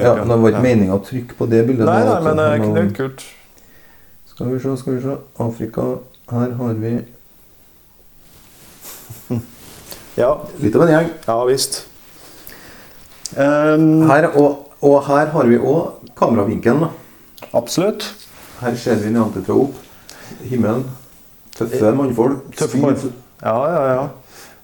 [SPEAKER 2] Ja, men Det var ikke
[SPEAKER 1] Ja.
[SPEAKER 2] meninga å trykke på det bildet.
[SPEAKER 1] Nei,
[SPEAKER 2] der,
[SPEAKER 1] nei, men eh, det er
[SPEAKER 2] vet du.
[SPEAKER 1] ikke- det er kult.
[SPEAKER 2] Skal vi se, skal vi se. Afrika. Her har vi
[SPEAKER 1] Ja,
[SPEAKER 2] litt av en gjeng.
[SPEAKER 1] ja visst. Ehm,
[SPEAKER 2] Her, og, og her har vi òg kameravinkelen. da.
[SPEAKER 1] absolutt.
[SPEAKER 2] Her ser vi nedenfra og opp. Himmelen. Tøffe mannfolk.
[SPEAKER 1] Tøffe folk. Ja, ja, ja.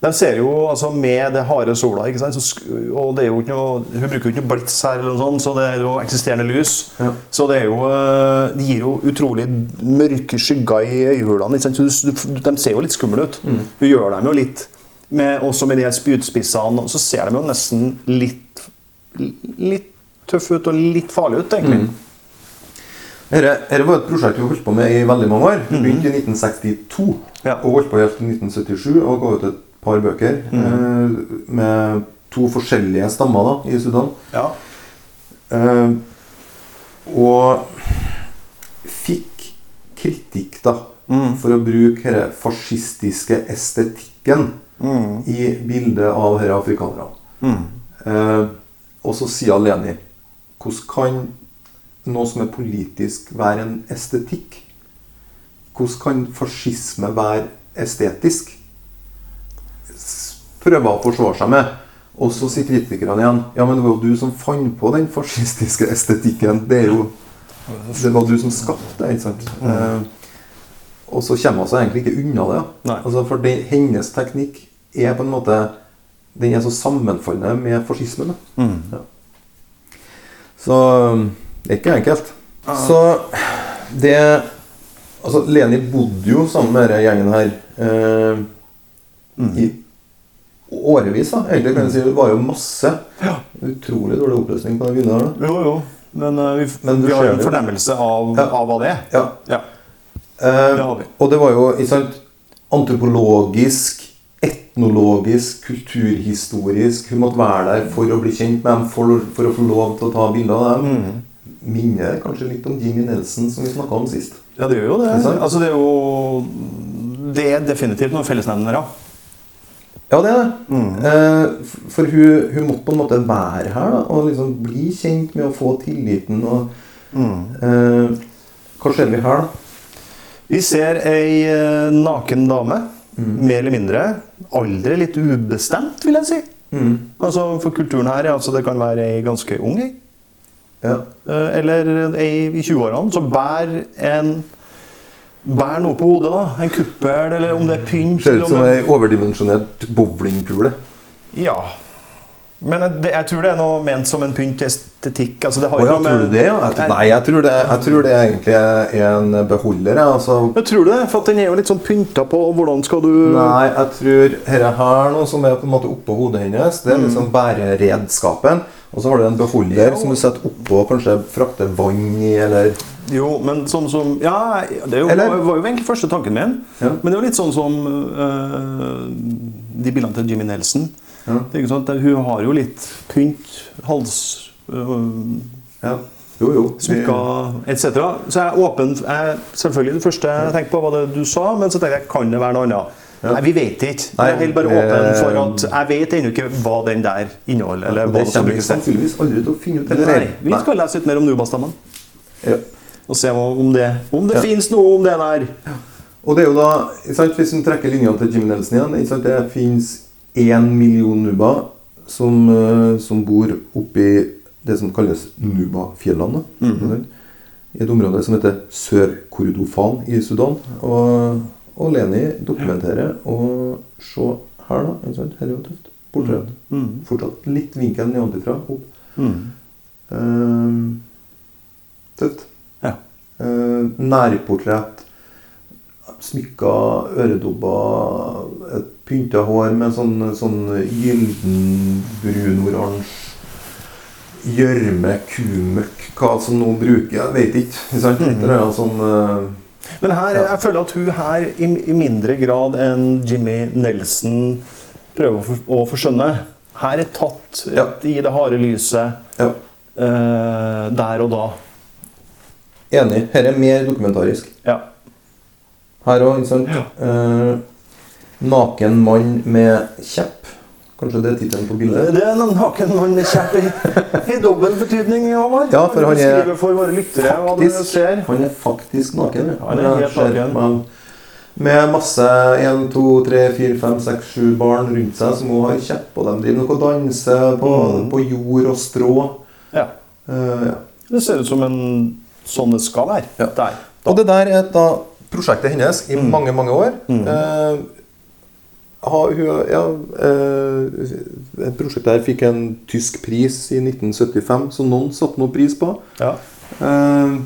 [SPEAKER 1] De ser jo altså med det harde sola, ikke sant? Så, sk- og det er jo ikke noe, hun bruker jo ikke noe blits her, eller noe sånt, så det er jo eksisterende lys.
[SPEAKER 2] Ja.
[SPEAKER 1] Så det, er jo, eh, det gir jo utrolig mørke skygger i øyehulene. Ikke sant? Så du, du, de ser jo litt skumle ut. Du gjør dem jo litt. Med, også med de her spydspissene, så ser de jo nesten litt, litt tøffe ut og litt farlige ut, egentlig.
[SPEAKER 2] Dette, dette var et prosjekt vi holdt på med i veldig mange år. Vi begynte i 1962
[SPEAKER 1] Mhm. Ja.
[SPEAKER 2] og holdt på helt til 1977 og ga ut et par bøker
[SPEAKER 1] Mhm.
[SPEAKER 2] eh, med to forskjellige stammer da, i Sudan.
[SPEAKER 1] Ja.
[SPEAKER 2] Eh, og fikk kritikk, da, for å bruke denne fascistiske estetikken i bildet av disse afrikanerne. Eh, og så sier Leni Hvordan kan noe som er politisk, være en estetikk? Hvordan kan fascisme være estetisk? prøver å forsvare seg med. Og så sier kritikerne igjen Ja, men det var jo du som fant på den fascistiske estetikken. Det er jo Det var du som skapte det, ikke sant? Eh, og så kommer hun seg egentlig ikke unna det.
[SPEAKER 1] Nei.
[SPEAKER 2] Altså, for det, hennes teknikk er på en måte Den er så sammenfallende med fascismen. Da. Ja. Så um, det er ikke enkelt. Så det Altså, Leni bodde jo sammen med denne gjengen her eh, i årevis. da, egentlig kan jeg si Det var jo masse.
[SPEAKER 1] Ja.
[SPEAKER 2] Utrolig dårlig oppløsning på det bildet her. da.
[SPEAKER 1] Jo, jo. Men eh, vi, f-
[SPEAKER 2] Men du
[SPEAKER 1] vi har
[SPEAKER 2] ser
[SPEAKER 1] jo en
[SPEAKER 2] det.
[SPEAKER 1] fornemmelse av,
[SPEAKER 2] Ja.
[SPEAKER 1] av hva det er.
[SPEAKER 2] Ja.
[SPEAKER 1] Ja.
[SPEAKER 2] Eh,
[SPEAKER 1] Det har vi.
[SPEAKER 2] og det var jo ikke sant, antropologisk, etnologisk, kulturhistorisk Hun måtte være der for å bli kjent med dem, for, å- for å få lov til å ta bilder av
[SPEAKER 1] Mm.
[SPEAKER 2] dem. Minner kanskje litt om Jimmy Nelson, som vi snakka om sist.
[SPEAKER 1] Ja, det gjør jo det.
[SPEAKER 2] Ikke sant?
[SPEAKER 1] Altså, det er jo Det er definitivt noen fellesnevnere.
[SPEAKER 2] Ja, det er det. Eh, f- for hun, hun måtte på en måte være her da, og liksom bli kjent med å få tilliten. Og,
[SPEAKER 1] Mm.
[SPEAKER 2] eh, hva ser vi her, da?
[SPEAKER 1] Vi ser ei eh, naken dame. Mer eller mindre. Aldri litt ubestemt, vil jeg si.
[SPEAKER 2] Mm.
[SPEAKER 1] Altså, For kulturen her altså, det kan være ei ganske ung ei.
[SPEAKER 2] Ja.
[SPEAKER 1] eh, Eller ei i 20-årene som bærer en Bær noe på hodet, da. En kuppel, eller om det er pynt.
[SPEAKER 2] Ser
[SPEAKER 1] eller
[SPEAKER 2] ut
[SPEAKER 1] om
[SPEAKER 2] som
[SPEAKER 1] det-
[SPEAKER 2] ei overdimensjonert bowlingkule.
[SPEAKER 1] Ja. Men det, jeg tror det er noe ment som en pynt til estetikk. Altså, det har
[SPEAKER 2] Å
[SPEAKER 1] jo noe
[SPEAKER 2] ja, tror
[SPEAKER 1] med-
[SPEAKER 2] du det? Ja? Jeg, tror- nei, jeg tror det, jeg tror det egentlig er en beholder. jeg, Altså,
[SPEAKER 1] Men tror du det? For at den er jo litt sånn pynta på og hvordan skal du
[SPEAKER 2] nei, jeg tror dette her nå, som er på en måte oppå hodet
[SPEAKER 1] Mm.
[SPEAKER 2] hennes, det er liksom bæreredskapen. Og så har du en beholder som du setter oppå, kanskje frakter vann i, eller
[SPEAKER 1] Jo, men sånn som Ja, det er jo,
[SPEAKER 2] Eller-
[SPEAKER 1] var jo egentlig første tanken min.
[SPEAKER 2] Ja.
[SPEAKER 1] Men det er jo litt sånn som eh, de bildene til Jimmy Nelson.
[SPEAKER 2] Ja.
[SPEAKER 1] Det er ikke sant? Hun har jo litt pynt, hals... øh,
[SPEAKER 2] ja. Jo, jo. vi-
[SPEAKER 1] smykker etc. Så jeg er åpen jeg, Selvfølgelig, det første jeg tenkte på, var det du sa, men så tenkte jeg kan det være noe annet? Nei, Vi vet ikke.
[SPEAKER 2] Nei,
[SPEAKER 1] jeg er helt bare åpen
[SPEAKER 2] eh,
[SPEAKER 1] for at jeg vet ennå ikke hva den der inneholder. eller
[SPEAKER 2] Og
[SPEAKER 1] hva
[SPEAKER 2] det
[SPEAKER 1] som
[SPEAKER 2] kommer vi
[SPEAKER 1] brukes til.
[SPEAKER 2] sannsynligvis aldri til å finne ut.
[SPEAKER 1] Nei,
[SPEAKER 2] heller.
[SPEAKER 1] Vi skal lese litt mer om Nuba-stemmen
[SPEAKER 2] Ja.
[SPEAKER 1] og se hva- om det, om det
[SPEAKER 2] Ja.
[SPEAKER 1] finnes noe om det der.
[SPEAKER 2] Og det er jo da, ikke sant, hvis vi trekker linjene til Jim Nelson igjen, ikke sant, det finnes én million nubaer som, eh, som bor oppi det som kalles Nubafjellene.
[SPEAKER 1] Mhm.
[SPEAKER 2] ikke sant, I et område som heter Sør-Kordofan i Sudan. Og, og Leni dokumenterer og se her, da. ikke sant, Her er jo tøft. Portrett.
[SPEAKER 1] Mhm.
[SPEAKER 2] Fortsatt litt vinkel nedenfra. Opp. Mm. Eh, tøft.
[SPEAKER 1] Ja.
[SPEAKER 2] Eh, nærportrett. Smykker, øredobber, et pynta hår med sånn, sånn gylden, brun-oransje Gjørme, kumøkk, hva som nå bruker Jeg vet ikke. ikke sant? Et eller annet sånn eh,
[SPEAKER 1] Men her, jeg føler at hun her i, i mindre grad enn Jimmy Nelson prøver å, for, å forskjønne. Her er tatt
[SPEAKER 2] Ja.
[SPEAKER 1] i det harde lyset
[SPEAKER 2] Ja,
[SPEAKER 1] eh, der og da.
[SPEAKER 2] enig. Her er mer dokumentarisk.
[SPEAKER 1] Ja.
[SPEAKER 2] Her òg, ikke sant? Eh, naken mann med kjepp. Kanskje det er tittelen på bildet?
[SPEAKER 1] Det er en naken mann med kjepp i, i dobbel betydning, Håvard.
[SPEAKER 2] Ja, for han er
[SPEAKER 1] Beskriver for våre lyttere hva det
[SPEAKER 2] Faktisk.
[SPEAKER 1] skjer.
[SPEAKER 2] Han er faktisk naken. ja.
[SPEAKER 1] Han er helt
[SPEAKER 2] ser
[SPEAKER 1] naken.
[SPEAKER 2] meg- Med masse 1, 2, 3, 4, 5, 6, 7 barn rundt seg som også har kjepp, og de driver noe og danser på, på jord og strå.
[SPEAKER 1] Ja.
[SPEAKER 2] Eh, ja.
[SPEAKER 1] Det ser ut som en sånn det skal være.
[SPEAKER 2] Ja.
[SPEAKER 1] Der.
[SPEAKER 2] Og det der er da prosjektet hennes i mange, mange år. Eh, har hun, ja, eh, et prosjekt der fikk en tysk pris i 1975, så noen satte noe pris på.
[SPEAKER 1] Ja.
[SPEAKER 2] Eh,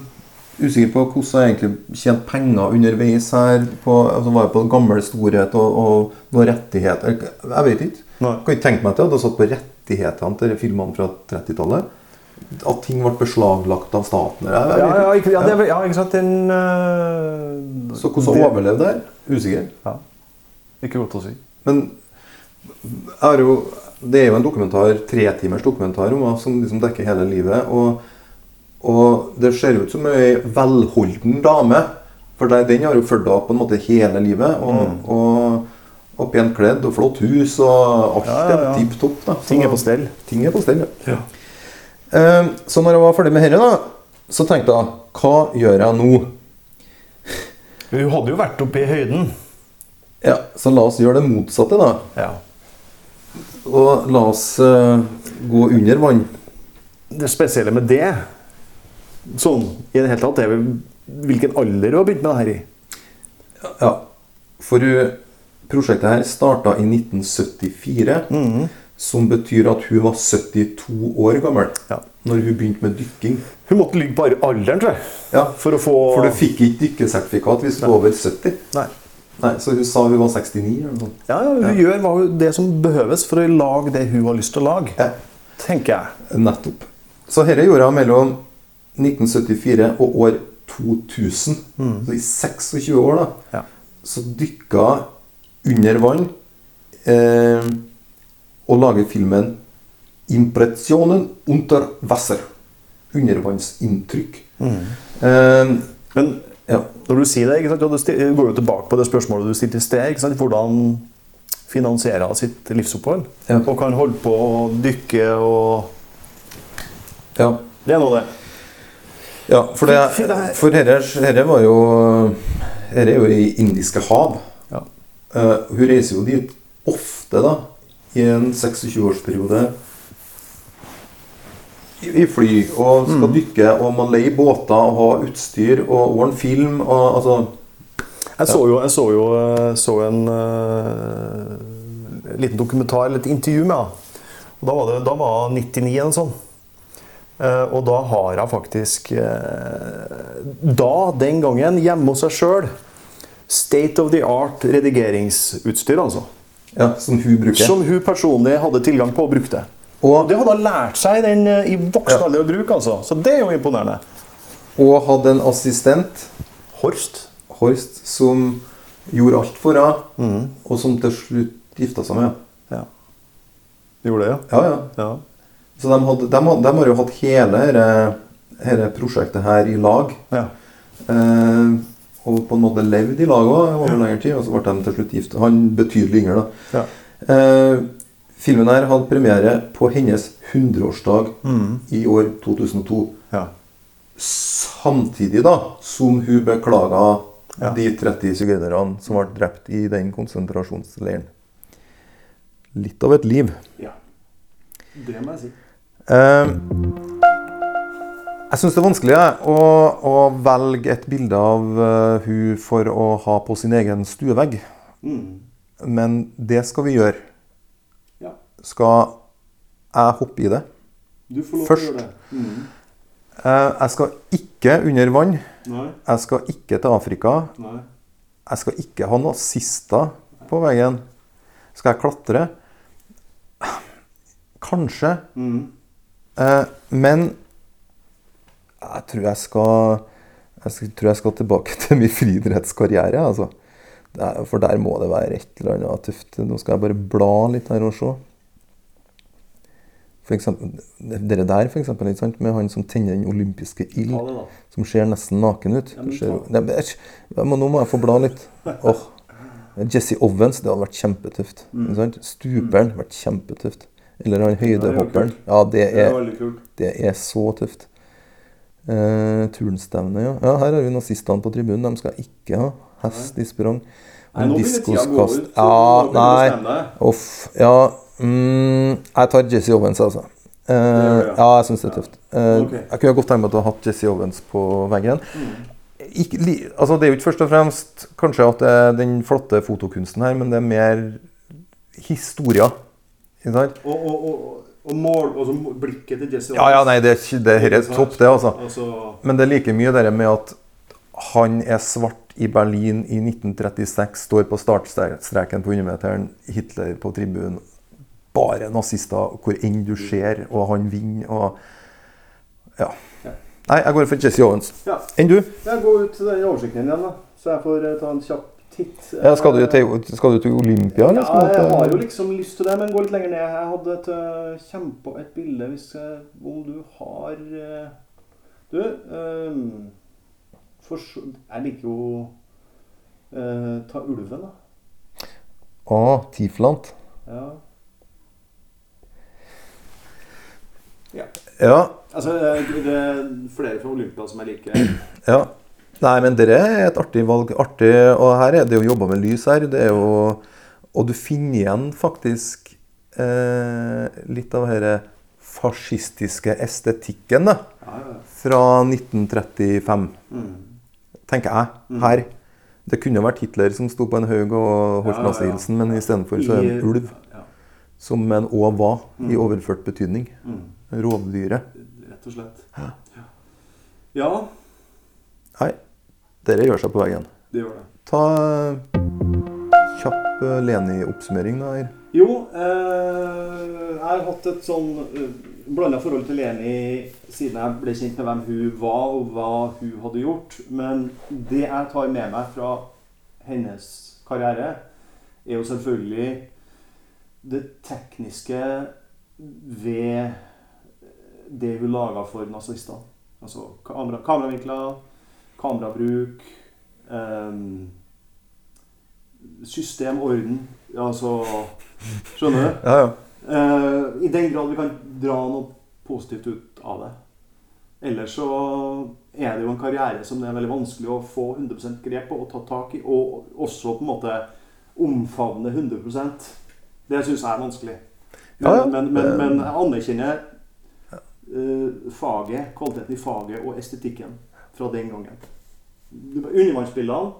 [SPEAKER 2] usikker på hvordan jeg egentlig tjente penger underveis her. På, altså var jeg på gammel storhet og, og noen rettigheter Jeg vet ikke.
[SPEAKER 1] Nei.
[SPEAKER 2] Kan ikke tenke meg at jeg hadde satt på rettighetene til filmene fra 30-tallet. At ting ble beslaglagt av staten. Jeg, jeg
[SPEAKER 1] Ja,
[SPEAKER 2] vet
[SPEAKER 1] ja,
[SPEAKER 2] ikke.
[SPEAKER 1] ikke, ja, det, er vel- ja, ikke sant? Den eh,
[SPEAKER 2] Så hvordan
[SPEAKER 1] det-
[SPEAKER 2] hun overlevde her? Usikker.
[SPEAKER 1] Ja. Ikke godt å si.
[SPEAKER 2] Men jeg har jo, det er jo en dokumentar, tretimers dokumentar om henne som liksom dekker hele livet. Og, og det ser ut som ei velholden dame. For det, den har jo fulgt henne på en måte hele livet. Og,
[SPEAKER 1] Mm.
[SPEAKER 2] og, og pent kledd og flott hus og alt
[SPEAKER 1] Ja, ja, ja.
[SPEAKER 2] er tipp topp. da. Så-
[SPEAKER 1] Ting er på stell.
[SPEAKER 2] Ting er på stell, ja.
[SPEAKER 1] Ja.
[SPEAKER 2] Eh, Så når jeg var ferdig med dette, da, så tenkte jeg Hva gjør jeg nå?
[SPEAKER 1] Hun hadde jo vært oppe i høyden.
[SPEAKER 2] Ja, Så la oss gjøre det motsatte, da.
[SPEAKER 1] Ja.
[SPEAKER 2] Og la oss eh, gå under vann.
[SPEAKER 1] Det spesielle med det, sånn i det hele tatt, er vel hvilken alder hun har begynt med det her i.
[SPEAKER 2] Ja, for hun, prosjektet her starta i 1974, som betyr at hun var 72 år gammel
[SPEAKER 1] Ja.
[SPEAKER 2] når hun begynte med dykking.
[SPEAKER 1] Hun måtte ligge på alderen, tror jeg.
[SPEAKER 2] Ja,
[SPEAKER 1] For å få
[SPEAKER 2] For du fikk ikke dykkesertifikat hvis du var over 70.
[SPEAKER 1] Nei.
[SPEAKER 2] Nei, Så hun sa hun var 69 eller noe sånt.
[SPEAKER 1] Ja, ja, hun gjør hva hun, det som behøves for å lage det hun har lyst til å lage.
[SPEAKER 2] Ja.
[SPEAKER 1] Tenker jeg.
[SPEAKER 2] Nettopp. Så dette gjorde hun mellom 1974 og år 2000. Så i 26 år, da.
[SPEAKER 1] Ja.
[SPEAKER 2] så dykka under vann eh, og lager filmen 'Impressionen unter Wasser'. Undervannsinntrykk. Eh,
[SPEAKER 1] Men
[SPEAKER 2] ja.
[SPEAKER 1] når du sier det, ikke sant, og du sti- går jo tilbake på det spørsmålet du stilte i sted. Ikke sant, hvordan finansierer hun sitt livsopphold?
[SPEAKER 2] Ja.
[SPEAKER 1] Og kan holde på å dykke og
[SPEAKER 2] ja.
[SPEAKER 1] Det er nå det.
[SPEAKER 2] ja for
[SPEAKER 1] Fy, fy, det her-
[SPEAKER 2] det For dette var jo Dette er jo i Indiske hav.
[SPEAKER 1] Ja.
[SPEAKER 2] Eh, hun reiser jo dit ofte, da, i en 26-årsperiode. I i fly og
[SPEAKER 1] Mm.
[SPEAKER 2] skal dykke, og man leier båter og har utstyr og ordner film og altså
[SPEAKER 1] Jeg så jo, jeg så jo eh, så en eh, liten dokumentar, eller et intervju med henne. Og da var, det, da var jeg 99 eller noe sånt. Eh, og da har jeg faktisk eh, Da, den gangen, hjemme hos seg sjøl State of the art redigeringsutstyr, altså.
[SPEAKER 2] Ja, som hun bruker.
[SPEAKER 1] Som hun personlig hadde tilgang på og brukte. Og
[SPEAKER 2] og,
[SPEAKER 1] det hadde hun lært seg i den, eh, i voksen
[SPEAKER 2] Ja.
[SPEAKER 1] alder å bruke, altså. Så det er jo imponerende.
[SPEAKER 2] og hadde en assistent,
[SPEAKER 1] Horst.
[SPEAKER 2] Horst, som gjorde alt for henne,
[SPEAKER 1] Mm.
[SPEAKER 2] og som til slutt gifta seg med henne.
[SPEAKER 1] Ja. Gjorde det,
[SPEAKER 2] Ja, ja.
[SPEAKER 1] ja.
[SPEAKER 2] Så de, hadde, de, hadde, de har jo hatt hele dette prosjektet her i lag.
[SPEAKER 1] ja. ja.
[SPEAKER 2] Eh, og på en måte levd i lag også, over lengre tid, og så ble de til slutt gift. Han betydelig yngre, da.
[SPEAKER 1] Ja.
[SPEAKER 2] Eh, filmen her hadde premiere på hennes 100-årsdag
[SPEAKER 1] Mm.
[SPEAKER 2] i år 2002.
[SPEAKER 1] ja.
[SPEAKER 2] Samtidig da, som hun beklaga
[SPEAKER 1] Ja.
[SPEAKER 2] de 30 sigøynerne som ble drept i den konsentrasjonsleiren. Litt av et liv.
[SPEAKER 1] Ja. Det må jeg si.
[SPEAKER 2] Eh, jeg syns det er vanskelig jeg, å, å velge et bilde av eh, hun for å ha på sin egen stuevegg.
[SPEAKER 1] Mm.
[SPEAKER 2] Men det skal vi gjøre.
[SPEAKER 1] Ja.
[SPEAKER 2] Skal jeg hoppe i det?
[SPEAKER 1] Du får lov
[SPEAKER 2] Først.
[SPEAKER 1] til å gjøre det.
[SPEAKER 2] Eh, jeg skal ikke under vann.
[SPEAKER 1] Nei,
[SPEAKER 2] Jeg skal ikke til Afrika.
[SPEAKER 1] nei.
[SPEAKER 2] Jeg skal ikke ha nazister på veggen. Skal jeg klatre? Kanskje.
[SPEAKER 1] Mm.
[SPEAKER 2] Eh, men jeg tror jeg skal jeg skal- tror jeg skal tilbake til min friidrettskarriere. Altså. Der- For der må det være et eller annet tøft. Nå skal jeg bare bla litt her og se. For eksempel, dere der, for eksempel, ikke sant? med han som tenner den
[SPEAKER 1] Ta
[SPEAKER 2] olympiske
[SPEAKER 1] det, da.
[SPEAKER 2] ild. Som ser nesten naken ut.
[SPEAKER 1] men
[SPEAKER 2] Det ser,
[SPEAKER 1] ta
[SPEAKER 2] jo- Nei, men æsj, jeg må- nå må jeg få bla litt. Åh, Jesse Owens, det hadde vært kjempetøft.
[SPEAKER 1] Mm.
[SPEAKER 2] ikke sant? Stuperen vært kjempetøft. Eller han høydehopperen. Ja, det
[SPEAKER 1] Det er
[SPEAKER 2] er,
[SPEAKER 1] veldig kult.
[SPEAKER 2] det er så tøft. Eh, turnstevne, ja. ja. Her har vi nazistene på tribunen. De skal jeg ikke ha. Hest i sprang.
[SPEAKER 1] Nei, nå begynner tida å gå ut,
[SPEAKER 2] Diskoskast.
[SPEAKER 1] så
[SPEAKER 2] Ja,
[SPEAKER 1] du må kunne bestemme
[SPEAKER 2] nei.
[SPEAKER 1] deg.
[SPEAKER 2] Uff. Ja. Mm, jeg tar Jesse Owens, altså. Eh,
[SPEAKER 1] gjør du, ja.
[SPEAKER 2] ja, jeg syns det er tøft. Eh,
[SPEAKER 1] Ok.
[SPEAKER 2] Jeg kunne godt tenkt meg at jeg hadde hatt Jesse Owens på veggen.
[SPEAKER 1] Mm.
[SPEAKER 2] Ikke, li, altså, det er jo ikke først og fremst kanskje at det er den flotte fotokunsten her, men det er mer historier. Ikke sant?
[SPEAKER 1] Og, og, og, og- og mål, og så blikket til Jesse
[SPEAKER 2] Ja, ja, nei, det er, ikke- det her er topp, det, altså.
[SPEAKER 1] Altså,
[SPEAKER 2] Men det er like mye det med at han er svart i Berlin i 1936, står på startstreken på 100-meteren, Hitler på tribunen. Bare nazister, og hvor enn du ser, og han vinner, og Ja.
[SPEAKER 1] Ja.
[SPEAKER 2] Nei, jeg går for Jesse Owens.
[SPEAKER 1] ja.
[SPEAKER 2] Enn du?
[SPEAKER 1] Jeg går ut til den oversikten igjen, da. Så jeg får eh, ta en kjapp titt.
[SPEAKER 2] Ja, skal, du til, skal du til Olympia, eller?
[SPEAKER 1] Ja,
[SPEAKER 2] Skal du
[SPEAKER 1] jeg
[SPEAKER 2] til-
[SPEAKER 1] har jo liksom lyst til det, men gå litt lenger ned. Jeg hadde et eh, kjempe et bilde hvis jeg, Om du har eh, Du eh, for, så- Jeg liker jo eh, Ta ulven, da.
[SPEAKER 2] Ah, Tiflant.
[SPEAKER 1] Ja. ja.
[SPEAKER 2] Ja,
[SPEAKER 1] Altså, eh, det er flere fra Olympia som jeg liker.
[SPEAKER 2] ja. Nei, men dere er et artig valg. Artig, og her er det jo jobba med lys her. Det er jo, og du finner igjen faktisk eh, litt av denne fascistiske estetikken da,
[SPEAKER 1] Ja, ja.
[SPEAKER 2] fra 1935, tenker
[SPEAKER 1] Mm.
[SPEAKER 2] jeg, her. Det kunne vært Hitler som sto på en haug og holdt
[SPEAKER 1] Ja, ja, ja.
[SPEAKER 2] nazihilsen, men istedenfor så er det en ulv.
[SPEAKER 1] Ja,
[SPEAKER 2] Som en òg var,
[SPEAKER 1] Mm.
[SPEAKER 2] i overført betydning. Rovdyret.
[SPEAKER 1] rett og slett. Ja,
[SPEAKER 2] Nei, dere gjør seg på veggen.
[SPEAKER 1] det gjør det.
[SPEAKER 2] Ta kjapp eh, Leni-oppsummering da her.
[SPEAKER 1] Jo, eh, jeg har hatt et sånn eh, blanda forhold til Leni siden jeg ble kjent med hvem hun var, og hva hun hadde gjort. Men det jeg tar med meg fra hennes karriere, er jo selvfølgelig det tekniske ved det hun laga for nazister. Altså kamera, kameravinkler, kamerabruk ehm, System, orden Altså Skjønner du?
[SPEAKER 2] Ja, ja.
[SPEAKER 1] Eh, I den grad vi kan dra noe positivt ut av det. Ellers så er det jo en karriere som det er veldig vanskelig å få 100 grep på og ta tak i. Og også på en måte omfavne 100 Det syns jeg er vanskelig. Men,
[SPEAKER 2] Ja, ja.
[SPEAKER 1] men, men, men jeg anerkjenner eh, faget, kvaliteten i faget og estetikken fra den gangen. Undervannsbildene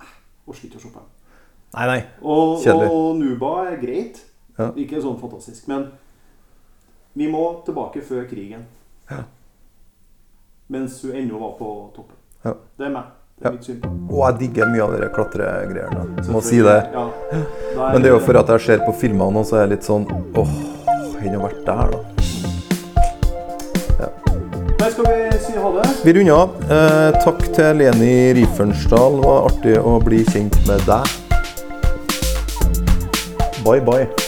[SPEAKER 1] eh, orker ikke å se på. dem.
[SPEAKER 2] Nei, nei.
[SPEAKER 1] Og,
[SPEAKER 2] Kjedelig.
[SPEAKER 1] og Nuba er greit.
[SPEAKER 2] Ja.
[SPEAKER 1] Ikke sånn fantastisk. Men Vi må tilbake før krigen.
[SPEAKER 2] Ja.
[SPEAKER 1] Mens hun ennå var på toppen.
[SPEAKER 2] Ja.
[SPEAKER 1] Det er meg. Det er
[SPEAKER 2] Ja.
[SPEAKER 1] mitt syn.
[SPEAKER 2] Og jeg digger mye av de klatregreiene. Må si det.
[SPEAKER 1] Ja.
[SPEAKER 2] Men det er jo for at jeg ser på filmene, og så er jeg litt sånn åh, han har vært der, da.
[SPEAKER 1] Der skal vi si ha det.
[SPEAKER 2] Vi runder av. Eh, takk til Leni Riefensdal. Det var artig å bli kjent med deg. Bye, bye.